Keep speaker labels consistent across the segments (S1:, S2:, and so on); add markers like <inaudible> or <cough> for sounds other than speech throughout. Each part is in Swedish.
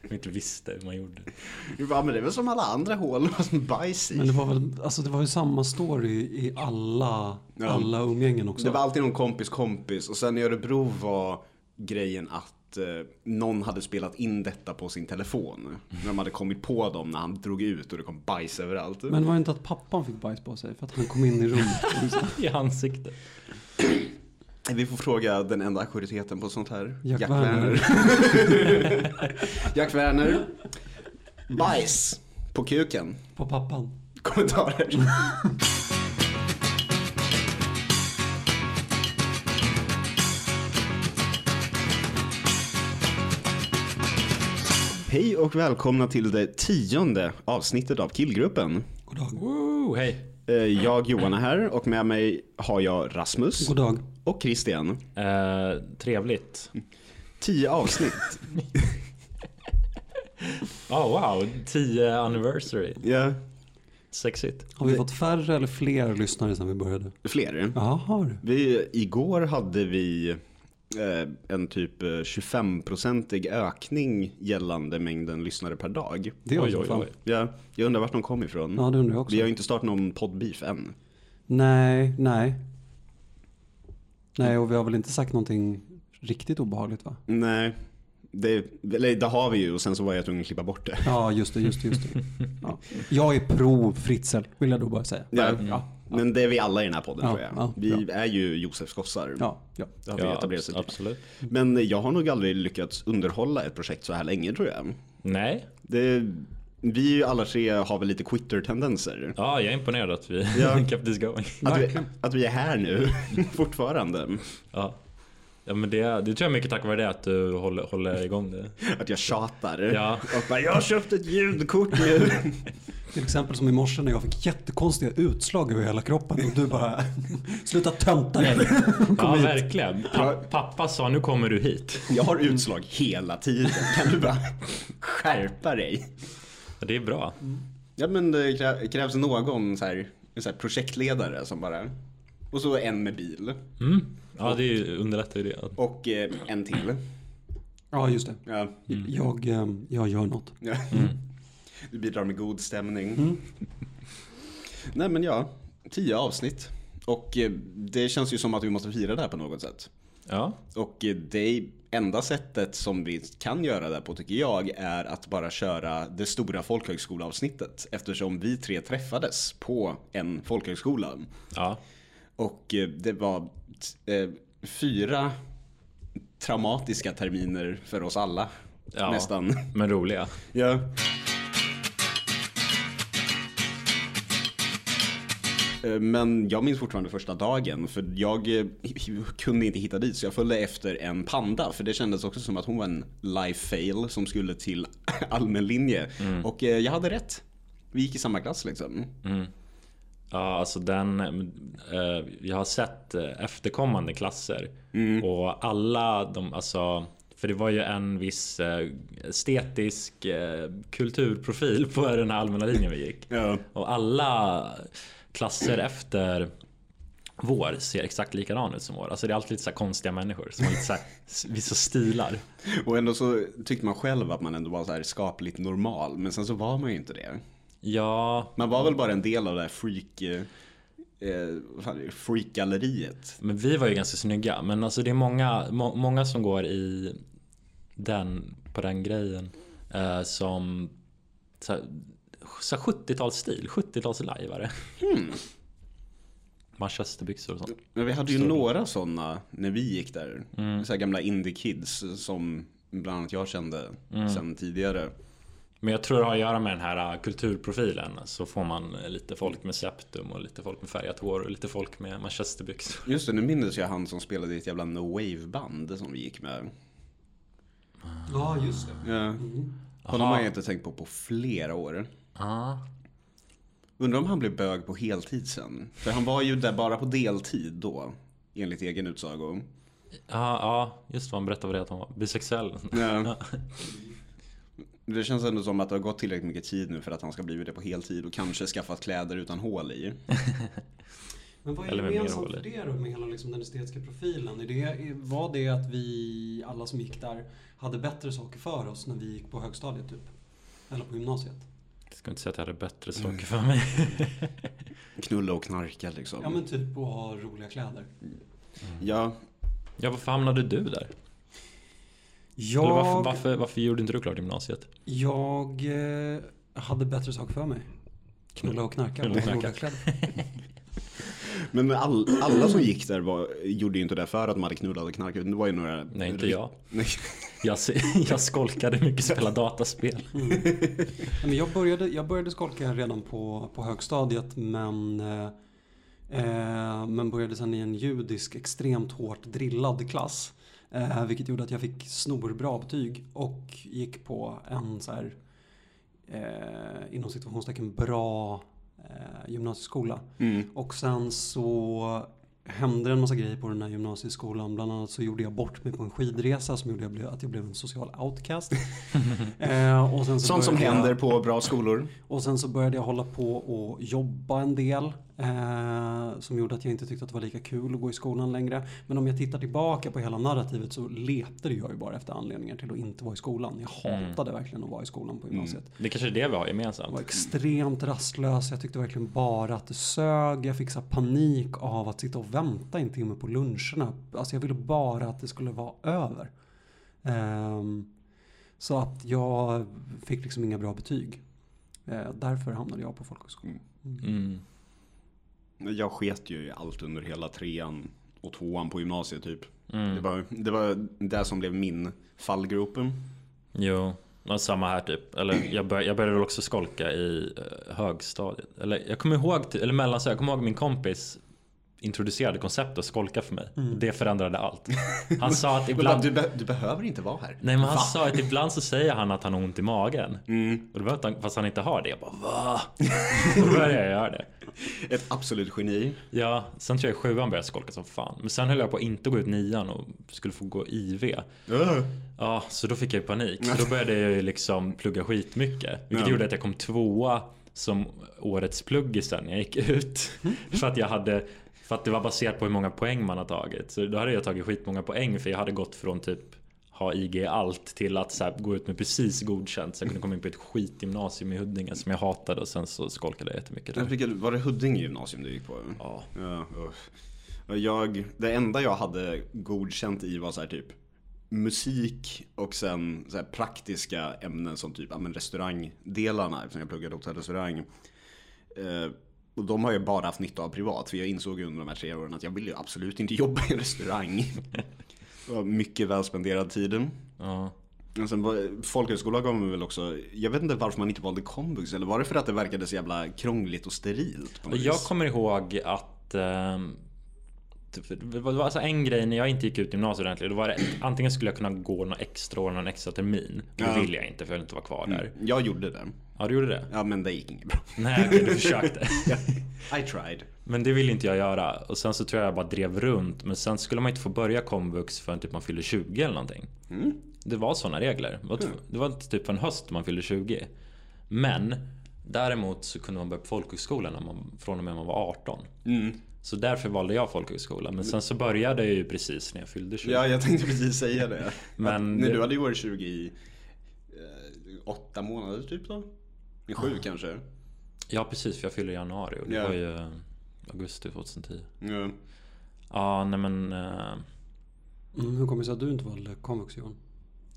S1: kanske inte visste hur man gjorde.
S2: Ja men det är väl som alla andra hål, <laughs> som bajs
S3: Men det
S2: i.
S3: var väl, alltså det var ju samma story i alla,
S2: Ja.
S3: alla umgängen också.
S2: Det var alltid någon kompis kompis och sen i Örebro var grejen att eh, någon hade spelat in detta på sin telefon. När de hade kommit på dem när han drog ut och det kom bajs överallt.
S3: Men var det inte att pappan fick bajs på sig för att han kom in i rummet?
S1: I ansiktet.
S2: Vi får fråga den enda auktoriteten på sånt här.
S3: Jack Werner. <laughs>
S2: Jack Werner. Bajs på kuken.
S3: på pappan?
S2: Kommentarer. Hej och välkomna till det tionde avsnittet av Killgruppen.
S3: God dag.
S1: Woo, hej.
S2: Eh, Jag Johan är här och med mig har jag Rasmus
S3: God dag.
S2: och Christian.
S1: Eh, trevligt.
S2: Tio avsnitt.
S1: Oh, wow, 10 anniversary.
S2: Ja,
S1: Sexigt.
S3: Har vi fått färre eller fler lyssnare sedan vi började?
S2: fler.
S3: Jaha du.
S2: Vi, igår hade vi eh, en typ eh, 25-procentig ökning gällande mängden lyssnare per dag.
S3: Det var
S1: Oj,
S3: som
S1: oj,
S3: fan.
S1: oj.
S2: Ja, jag undrar vart de kom ifrån.
S3: Ja, det undrar jag också.
S2: vi har ju inte startat någon poddbeef än.
S3: Nej, nej. Nej, och vi har väl inte sagt någonting riktigt obehagligt va?
S2: Nej, det, eller, det har vi ju och sen så var jag tvungen att klippa bort det.
S3: Ja, just det, just det, just det. Ja. Jag är pro Fritzl, vill jag då bara säga.
S2: Ja,
S3: ja,
S2: Men det är vi alla i den här podden
S3: Ja,
S2: tror jag.
S3: ja,
S2: vi är ju Josefs gossar.
S3: ja, ja.
S2: Det har vi
S1: Ja,
S2: etablerat
S1: abs-
S2: sig
S1: absolut.
S2: Men jag har nog aldrig lyckats underhålla ett projekt så här länge tror jag.
S1: Nej,
S2: Det, vi alla tre har väl lite quitter-tendenser.
S1: ja, jag <laughs> är imponerad att vi
S2: Ja.
S1: kept this going.
S2: Att vi, att vi är här nu <laughs> fortfarande.
S1: Ja. Ja, men det, det tror jag är mycket tack vare det att du håller, håller igång det.
S2: Att jag tjatar.
S1: Ja.
S2: Och bara, jag har köpt ett ljudkort nu.
S3: Till exempel som i morse när jag fick jättekonstiga utslag över hela kroppen och du bara Sluta tönta dig!
S1: Ja, verkligen. Pa- pappa sa nu kommer du hit.
S2: jag har utslag hela tiden. Kan du bara skärpa dig?
S1: Ja, Det är bra.
S2: Ja men det krä- krävs någon så här, så här projektledare som bara... Och så en med bil.
S1: Mm. Ja, det är ju- underlättar ju det.
S2: Och eh, en till.
S3: Ja, just det.
S2: Ja.
S1: Mm.
S3: Jag, ehm, jag gör något.
S2: ja. Du bidrar med god stämning. Nej men ja, tio avsnitt. Och eh, det känns ju som att vi måste fira det här på något sätt.
S1: Ja,
S2: Och eh, det enda sättet som vi kan göra det på tycker jag är att bara köra det stora folkhögskolavsnittet. Eftersom vi tre träffades på en folkhögskola.
S1: ja.
S2: Och eh, det var eh, fyra traumatiska terminer för oss alla.
S1: ja.
S2: Nästan.
S1: Men roliga.
S2: Ja. Eh, Men jag minns fortfarande första dagen för jag eh, <laughs> kunde inte hitta dit så jag följde efter en panda för det kändes också som att hon var en life fail som skulle till <laughs> allmän linje. Och eh, jag hade rätt. Vi gick i samma klass liksom.
S1: Ja, alltså den... eh, jag har sett eh, efterkommande klasser. Och alla de, alltså... För det var ju en viss eh, estetisk eh, kulturprofil på den här allmänna linjen vi gick.
S2: Ja.
S1: Och alla klasser efter vår ser exakt likadan ut som vår. Alltså det är alltid lite så här konstiga människor som har lite så här, vissa stilar.
S2: Och ändå så tyckte man själv att man ändå var så här skapligt normal men sen så var man ju inte det.
S1: Ja,
S2: Man var väl bara en del av det här freak... eh, Eh, vad fan är det? freakgalleriet.
S1: men vi var ju ganska snygga. Men alltså det är många, må, många som går i den, på den grejen eh, som så här, så här 70-talsstil, 70-talslajvare. Manchesterbyxor och sånt.
S2: Men vi hade ju
S1: Förstår du?
S2: några sådana när vi gick där. Så här gamla indie-kids som bland annat jag kände sen tidigare.
S1: Men jag tror det har att göra med den här äh, kulturprofilen. Så får man äh, lite folk med septum och lite folk med färgat hår och lite folk med manchesterbyxor.
S2: Just det, nu minns jag han som spelade i ett jävla No Wave-band som vi gick med.
S3: Ja, just det.
S2: Ja. Honom har jag inte tänkt på på flera år.
S1: Ah.
S2: Undrar om han blev bög på heltid sen. För han var ju där bara på deltid då. Enligt egen utsago.
S1: Ja, ja, just vad han berättade var det att han var bisexuell.
S2: Ja. Det känns ändå som att det har gått tillräckligt mycket tid nu för att han ska bli det på heltid och kanske skaffat kläder utan hål i.
S3: Men vad är
S1: Eller med mer
S3: gemensamt för
S1: håll i.
S3: det då med hela liksom den estetiska profilen? Är det, var det att vi alla som gick där hade bättre saker för oss när vi gick på högstadiet typ? Eller på gymnasiet?
S1: Jag ska inte säga att jag hade bättre saker för mig.
S2: Knulla och knarka liksom.
S3: Ja men typ att ha roliga kläder.
S2: ja,
S1: Ja, varför hamnade du där?
S3: Jag,
S1: Eller varför, varför, varför gjorde inte du klart gymnasiet?
S3: jag eh, hade bättre saker för mig. Knulla och knarka
S1: Knulla
S3: och
S1: och
S3: ha roliga
S1: knarka.
S3: kläder.
S2: Men all, alla som gick där var, gjorde ju inte det för att de hade knullat och knarkat. utan Det var ju några...
S1: Nej, inte jag.
S2: Nej.
S1: Jag, se- <laughs> jag skolkade mycket, spela dataspel.
S3: Nej, men jag, började, jag började skolka redan på, på högstadiet men, eh, eh, men började sen i en judisk extremt hårt drillad klass. Eh, vilket gjorde att jag fick snorbra betyg och gick på en så här eh, inom situationstecken bra eh, gymnasieskola.
S2: Mm.
S3: Och sen så hände en massa grejer på den här gymnasieskolan. Bland annat så gjorde jag bort mig på en skidresa som gjorde jag blev- att jag blev en social
S2: <laughs>
S3: outcast. eh, och sen
S2: <laughs>
S3: så
S2: Sånt som
S3: började jag-
S2: händer på bra skolor.
S3: och sen så började jag hålla på och jobba en del. Eh, som gjorde att jag inte tyckte att det var lika kul att gå i skolan längre. Men om jag tittar tillbaka på hela narrativet så letade jag ju bara efter anledningar till att inte vara i skolan. Jag hatade verkligen att vara i skolan på gymnasiet.
S1: Det kanske är det vi har
S3: Jag var
S1: gemensamt.
S3: extremt rastlös. Jag tyckte verkligen bara att det sög. Jag fick så här panik av att sitta och vänta en timme på luncherna. Alltså jag ville bara att det skulle vara över. Ehm, så att jag fick liksom inga bra betyg. Eh, därför hamnade jag på folkhögskolan.
S1: Mm.
S2: Jag sket ju i allt under hela trean och tvåan på gymnasiet typ.
S1: Mm.
S2: Det, var, det var det som blev min fallgrop.
S1: Jo, och samma här typ. Eller jag, bör, jag började väl också skolka i eh, högstadiet. Eller jag kommer ihåg, ty- eller mellanstadiet, jag kommer ihåg min kompis introducerade konceptet att skolka för mig. Det förändrade allt. Han
S2: <laughs>
S1: sa att ibland...
S2: Ibland... Mm. Du, be, du behöver inte vara här.
S1: Nej men alltså- han
S2: Va?
S1: sa att ibland så säger han att han har ont i magen. Och då behövde han, fast han inte har det. Jag bara <laughs> va? Och då började jag göra det.
S2: Ett absolut geni.
S1: Ja, sen tror jag i sjuan började jag skolka som fan. Men sen höll jag på att inte gå ut nian och skulle få gå IV.
S2: Äh.
S1: Ja, så då fick jag ju panik. Så då började jag ju liksom plugga skitmycket. Vilket
S2: Ja.
S1: gjorde att jag kom tvåa som årets pluggis sen när jag gick ut. För att jag hade för att det var baserat på hur många poäng man har tagit. Så då hade jag tagit skitmånga poäng för jag hade gått från typ ha IG i allt till att så här, gå ut med precis godkänt. Så jag kunde komma in på ett skitgymnasium i Huddinge som jag hatade och sen så skolkade jag jättemycket
S2: Jag
S1: där.
S2: fick- Var det Huddinge gymnasium du gick på?
S1: Ja.
S2: Ja, usch. Och jag, det enda jag hade godkänt i var så här typ musik och sen så här praktiska ämnen som typ ja, men restaurangdelarna eftersom jag pluggade hotell och restaurang. Eh, och de har jag bara haft nytta av privat för jag insåg under de här tre åren att jag vill ju absolut inte <laughs> jobba i en restaurang. Det var mycket väl spenderad tiden.
S1: Ja.
S2: Men sen var- folkhögskola gav mig väl också, jag vet inte varför man inte valde komvux eller var det för att det verkade så jävla krångligt och sterilt? på något
S1: Jag
S2: vis?
S1: kommer ihåg att ehm, typ, det var det var alltså en grej när jag inte gick ut gymnasiet ordentligt. Då var det, antingen skulle jag kunna gå några extra år, någon extra termin. Det
S2: Ja.
S1: ville jag inte för jag ville inte vara kvar där.
S2: Jag gjorde det.
S1: Ja, du gjorde det?
S2: Ja men det gick inget bra.
S1: Nej, okej, du försökte. <laughs>
S2: I tried.
S1: Men det ville inte jag göra. Och sen så tror jag jag bara drev runt. Men sen skulle man inte få börja komvux förrän typ man fyllde 20 eller någonting. Det var sådana regler. Det var, det var typ för en höst man fyllde 20. Men däremot så kunde man börja på folkhögskolan när man, från och med man var 18.
S2: Mm.
S1: Så därför valde jag folkhögskolan. Men sen så började jag ju precis när jag fyllde 20.
S2: Ja jag tänkte precis säga det.
S1: Men
S2: Att när
S1: det-
S2: du hade ju varit 20 i eh, åtta månader typ då? I
S1: Ah.
S2: sju kanske?
S1: Ja precis, för jag fyllde i januari och det
S2: Ja.
S1: var ju eh, augusti 2010.
S2: Ja.
S1: Ja, nej men... eh,
S3: Mm, hur kommer det sig att du inte valde komvux Johan?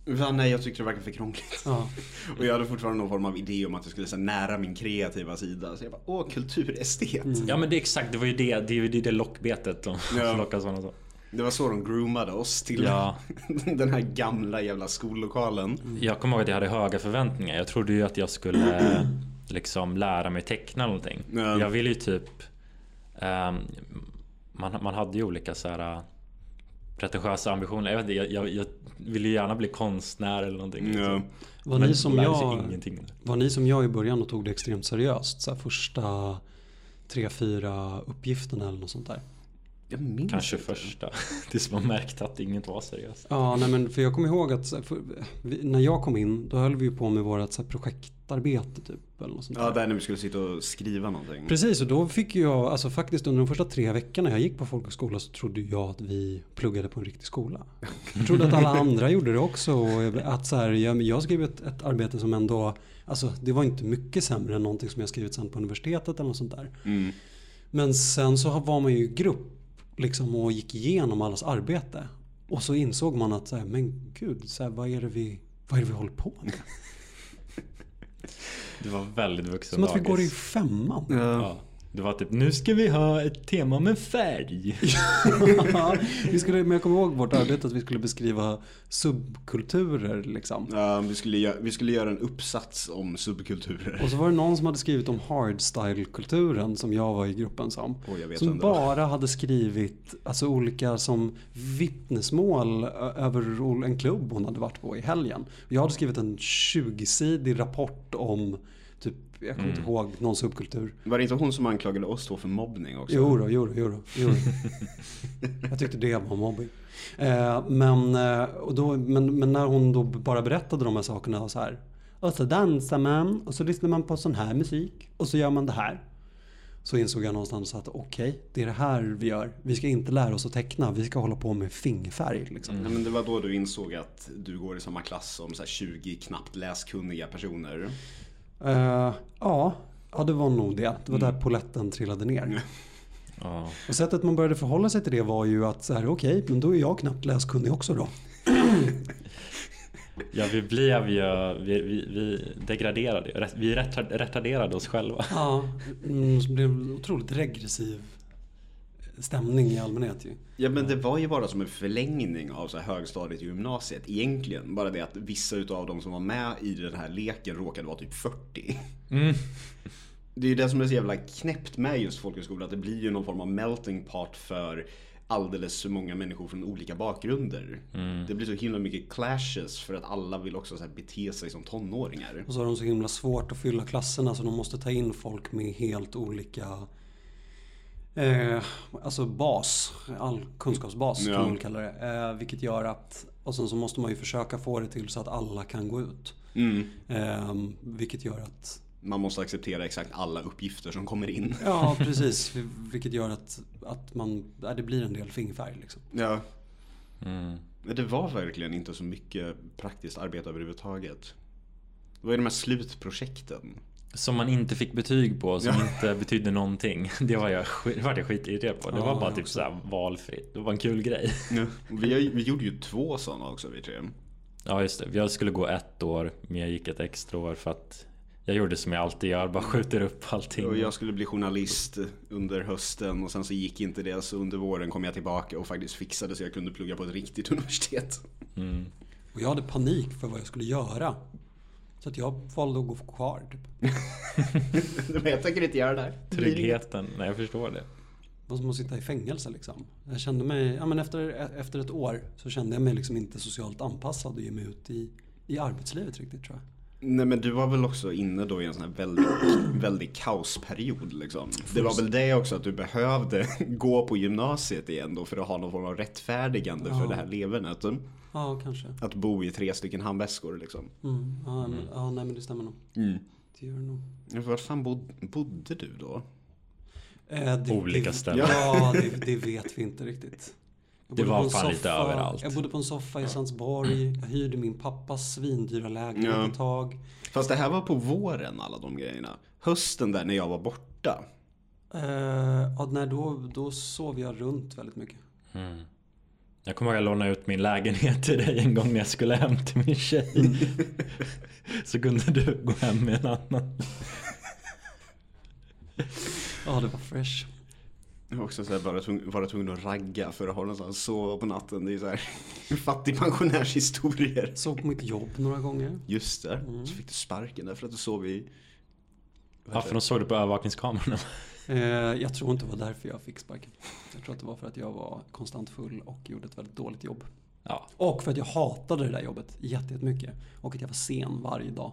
S2: Va, nej jag tyckte det verkade
S1: <laughs>
S2: för krångligt.
S3: Ja.
S2: Och jag hade fortfarande någon form av idé om att jag skulle så här, nära min kreativa sida. Så jag bara, åh kulturestet.
S1: Ja men det är exakt, det var ju det, det, är ju det lockbetet de <laughs>
S2: Ja.
S1: lockar sådana så.
S2: Det var så de groomade oss till
S1: Ja.
S2: <laughs>
S1: Mm.
S2: den här gamla jävla skollokalen.
S1: Jag kommer ihåg att jag hade höga förväntningar. Jag trodde ju att jag skulle <clears throat> liksom lära mig teckna någonting.
S2: Ja.
S1: Jag ville ju typ... ehm, man, man hade ju olika så här eh, pretentiösa ambitioner. Jag, vet inte, jag, jag, jag ville ju gärna bli konstnär eller någonting.
S2: Ja.
S3: Var
S1: Men
S3: ni som
S1: lärde sig
S3: jag...
S1: ingenting.
S3: Var ni som jag i början och tog det extremt seriöst? Så här första tre, fyra uppgifterna eller något sånt där.
S2: Jag minns
S1: Kanske
S2: inte.
S1: första. <laughs> Tills man märkte att inget var seriöst.
S3: Ja, nej men för jag kommer ihåg att så här, för, vi, när jag kom in, då höll vi ju på med vårt så här, projektarbete typ. Eller något sånt
S2: Ja,
S3: där.
S2: där när vi skulle sitta och skriva någonting.
S3: Precis, och då fick jag, alltså faktiskt under de första tre veckorna jag gick på folkhögskola så trodde jag att vi pluggade på en riktig skola. Jag trodde att alla andra gjorde det också. Och jag, att så här, jag, jag skrev ett, ett arbete som ändå, alltså det var inte mycket sämre än någonting som jag skrivit sen på universitetet eller något sånt där.
S2: Mm.
S3: Men sen så var man ju i grupp liksom, och gick igenom allas arbete. Och så insåg man att, så här, men gud, så här, vad, är det vi, vad är det vi håller på med?
S1: Det var väldigt vuxen
S3: Som att vi går i
S1: dagis.
S3: femman.
S2: Ja.
S1: Ja. Det var typ, nu ska vi ha ett tema med färg.
S3: vi skulle, men jag kommer ihåg vårt arbete att vi skulle beskriva subkulturer. Liksom.
S2: Ja, vi, skulle göra, vi skulle göra en uppsats om subkulturer.
S3: Och så var det någon som hade skrivit om hardstyle-kulturen som jag var i gruppen som.
S2: Åh, jag vet
S3: som
S2: vem det var.
S3: bara hade skrivit alltså, olika som vittnesmål ö- över ol- en klubb hon hade varit på i helgen. Jag hade skrivit en 20-sidig rapport om, typ, jag kommer
S2: Mm.
S3: inte ihåg, någon subkultur.
S2: Var det inte hon som anklagade oss två för mobbning också?
S3: Jo då, jo då, jo då, jo då. Jag tyckte det var mobbing. Eh, men, eh, och då, men, men när hon då bara berättade de här sakerna och så här. Och så dansar man och så lyssnar man på sån här musik och så gör man det här. Så insåg jag någonstans att okej, det är det här vi gör. Vi ska inte lära oss att teckna, vi ska hålla på med fingerfärg. Liksom.
S2: Nej, men det var då du insåg att du går i samma klass som så här 20 knappt läskunniga personer.
S3: Eh, ja, ja, det var nog det. Det var där poletten trillade ner.
S1: Ja.
S3: Och sättet man började förhålla sig till det var ju att så här, okej, men då är jag knappt läskunnig också då.
S1: Ja, vi blev ju, vi, vi, vi degraderade, ju. vi retar- retarderade oss själva.
S3: Ja, mm, så blev det en otroligt regressiv stämning i allmänhet ju.
S2: Ja men det var ju bara som en förlängning av så här högstadiet i gymnasiet egentligen. Bara det att vissa utav de som var med i den här leken råkade vara typ 40. <laughs> Det är ju det som är så jävla knäppt med just folkhögskola. Att det blir ju någon form av melting pot för alldeles för många människor från olika bakgrunder. Det blir så himla mycket clashes för att alla vill också så här bete sig som tonåringar.
S3: Och så har de så himla svårt att fylla klasserna så de måste ta in folk med helt olika eh, alltså bas, all kunskapsbas
S2: Ja.
S3: kan man väl kalla det. Eh, vilket gör att, och sen så måste man ju försöka få det till så att alla kan gå ut. Eh, vilket gör att
S2: Man måste acceptera exakt alla uppgifter som kommer in.
S3: Ja, <laughs> precis. Vilket gör att, att man, ja, det blir en del fingerfärg. Liksom.
S2: Ja. Men det var verkligen inte så mycket praktiskt arbete överhuvudtaget. Det var ju de här slutprojekten.
S1: Som man inte fick betyg på, som inte betydde någonting. <laughs> Det var jag, sk- det var jag skitirriterad på. Det
S3: Ja,
S1: var bara
S3: jag
S1: typ
S3: också.
S1: såhär valfritt. Det var en kul grej.
S2: Vi, har ju- vi gjorde ju två sådana också vi tre.
S1: <laughs> Ja just det, jag skulle gå ett år men jag gick ett extra år för att jag gjorde som jag alltid gör, bara skjuter upp allting.
S2: Och jag skulle bli journalist under hösten och sen så gick inte det så under våren kom jag tillbaka och faktiskt fixade så jag kunde plugga på ett riktigt <laughs> universitet.
S3: Och jag hade panik för vad jag skulle göra. Så att jag valde att gå kvar. Typ.
S2: Men jag tänker inte göra det här. Det blir inget.
S1: Tryggheten, nej jag förstår det.
S3: Det var som att sitta i fängelse liksom. Jag kände mig, ja, men efter, efter ett år så kände jag mig liksom inte socialt anpassad och ge mig ut i, i arbetslivet riktigt tror jag.
S2: Nej men du var väl också inne då i en sån här väldigt, <clears throat> väldigt kaosperiod liksom. Det var väl det också att du behövde <laughs> gå på gymnasiet igen då för att ha någon form av rättfärdigande för det här levernet.
S3: Ja, kanske.
S2: Att bo i tre stycken handväskor liksom.
S3: Mm. Ja, Men, ja, nej men det stämmer nog.
S2: Mm.
S3: Det gör det nog.
S2: För var fan bod, bodde du då?
S3: Eh, det,
S1: Olika
S3: det,
S1: ställen. <laughs>
S3: Ja, det, det vet vi inte riktigt. Jag
S1: Det
S3: bodde
S1: var
S3: på en
S1: fan lite överallt.
S3: Jag bodde på en soffa i Sandsborg. Jag hyrde min pappas svindyra lägenhet
S2: Ja.
S3: ett tag.
S2: Fast det här var på våren alla de grejerna. Hösten där när jag var borta.
S3: Eh, ja, nej, då, då sov jag runt väldigt mycket.
S1: Jag kommer ihåg att jag lånade ut min lägenhet till dig en gång när jag skulle hem till min tjej. <laughs> Så kunde du gå hem med en annan.
S3: Ja, det var fresh.
S2: Jag var också så här bara tvung, vara tvungen att ragga för att ha någonstans att sova på natten. Det är så här <laughs> fattigpensionärshistorier.
S3: Sov på mitt jobb några gånger.
S2: Just det. Så fick du sparken därför att du sov i...
S1: Ja för de såg det på övervakningskamerorna.
S3: Eh, jag tror inte det var därför jag fick sparken. Jag tror att det var för att jag var konstant full och gjorde ett väldigt dåligt jobb.
S1: Ja.
S3: Och för att jag hatade det där jobbet jätte- jättemycket. Och att jag var sen varje dag.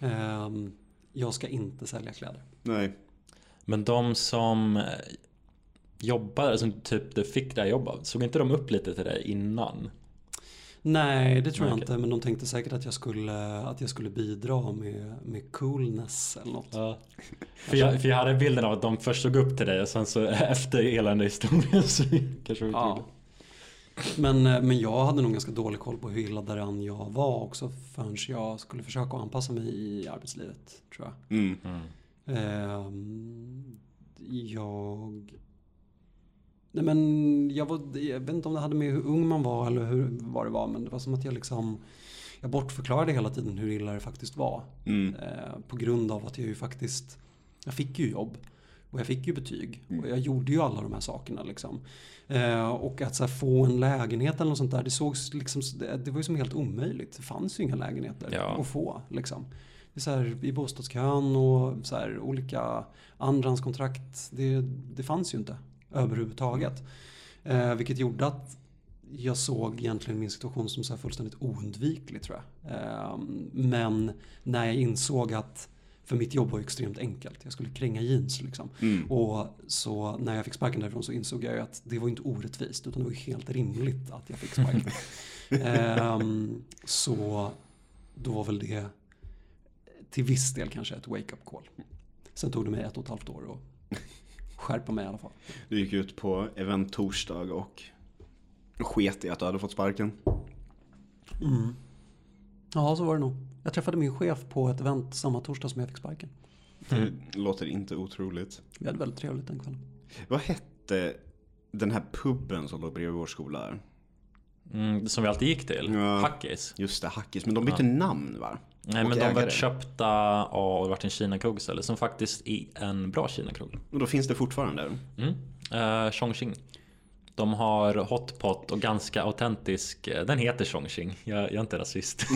S3: Ehm, jag ska inte sälja kläder.
S2: Nej.
S1: Men de som jobbade, eh, som typ du fick det här jobbet. Såg inte de upp lite till dig innan?
S3: Nej, det tror jag
S1: Okej.
S3: inte. Men de tänkte säkert att jag skulle, att jag skulle bidra med, med coolness eller något.
S1: Ja. För, jag, för jag hade bilden av att de först såg upp till dig och sen så <laughs> efter hela den där historien så kanske vi
S3: Ja. Men, eh, men jag hade nog ganska dålig koll på hur illa däran jag var också förrän jag skulle försöka anpassa mig i arbetslivet tror jag.
S2: Mm.
S3: Ehm, jag... Nej men jag, var, jag vet inte om det hade med hur ung man var eller hur, vad det var men det var som att jag liksom jag bortförklarade hela tiden hur illa det faktiskt var.
S2: Mm.
S3: Eh, på grund av att jag ju faktiskt, jag fick ju jobb och jag fick ju betyg och jag gjorde ju alla de här sakerna liksom. Eh, och att så här, få en lägenhet eller något sånt där, det sågs liksom, det det var ju som helt omöjligt. Det fanns ju inga lägenheter
S1: Ja.
S3: att få liksom. Det är så här, I bostadskön och så här, olika andrahandskontrakt, det, det fanns ju inte överhuvudtaget. Eh, vilket gjorde att jag såg egentligen min situation som så här fullständigt oundviklig tror jag. Eh, men när jag insåg att, för mitt jobb var ju extremt enkelt, jag skulle kränga jeans liksom. Och så när jag fick sparken därifrån så insåg jag ju att det var ju inte orättvist utan det var ju helt rimligt att jag fick sparken. Ehm, så då var väl det till viss del kanske ett wake-up call. Sen tog det mig ett och ett halvt år att skärpa mig i alla fall.
S2: Du gick ut på event torsdag och sket i att du hade fått sparken.
S3: Mm. Ja, så var det nog. Jag träffade min chef på ett event samma torsdag som jag fick sparken.
S1: Mm.
S2: Det låter inte otroligt.
S3: Vi hade väldigt trevligt den kvällen.
S2: Vad hette den här puben som låg bredvid vår skola?
S1: Mm, som vi alltid gick till.
S2: Ja.
S1: Hackis.
S2: Just det, Hackis. Men de bytte namn va?
S1: Nej
S2: Och
S1: men de
S2: ägare.
S1: vart köpta av, det vart en Kina-krog istället. Som faktiskt är en bra Kina-krog.
S2: Och då finns det fortfarande.
S1: Mm. Eh, Chongqing. De har hotpot och ganska autentisk. eh, Den heter Chongqing. Jag, jag är inte
S2: <laughs>
S1: rasist.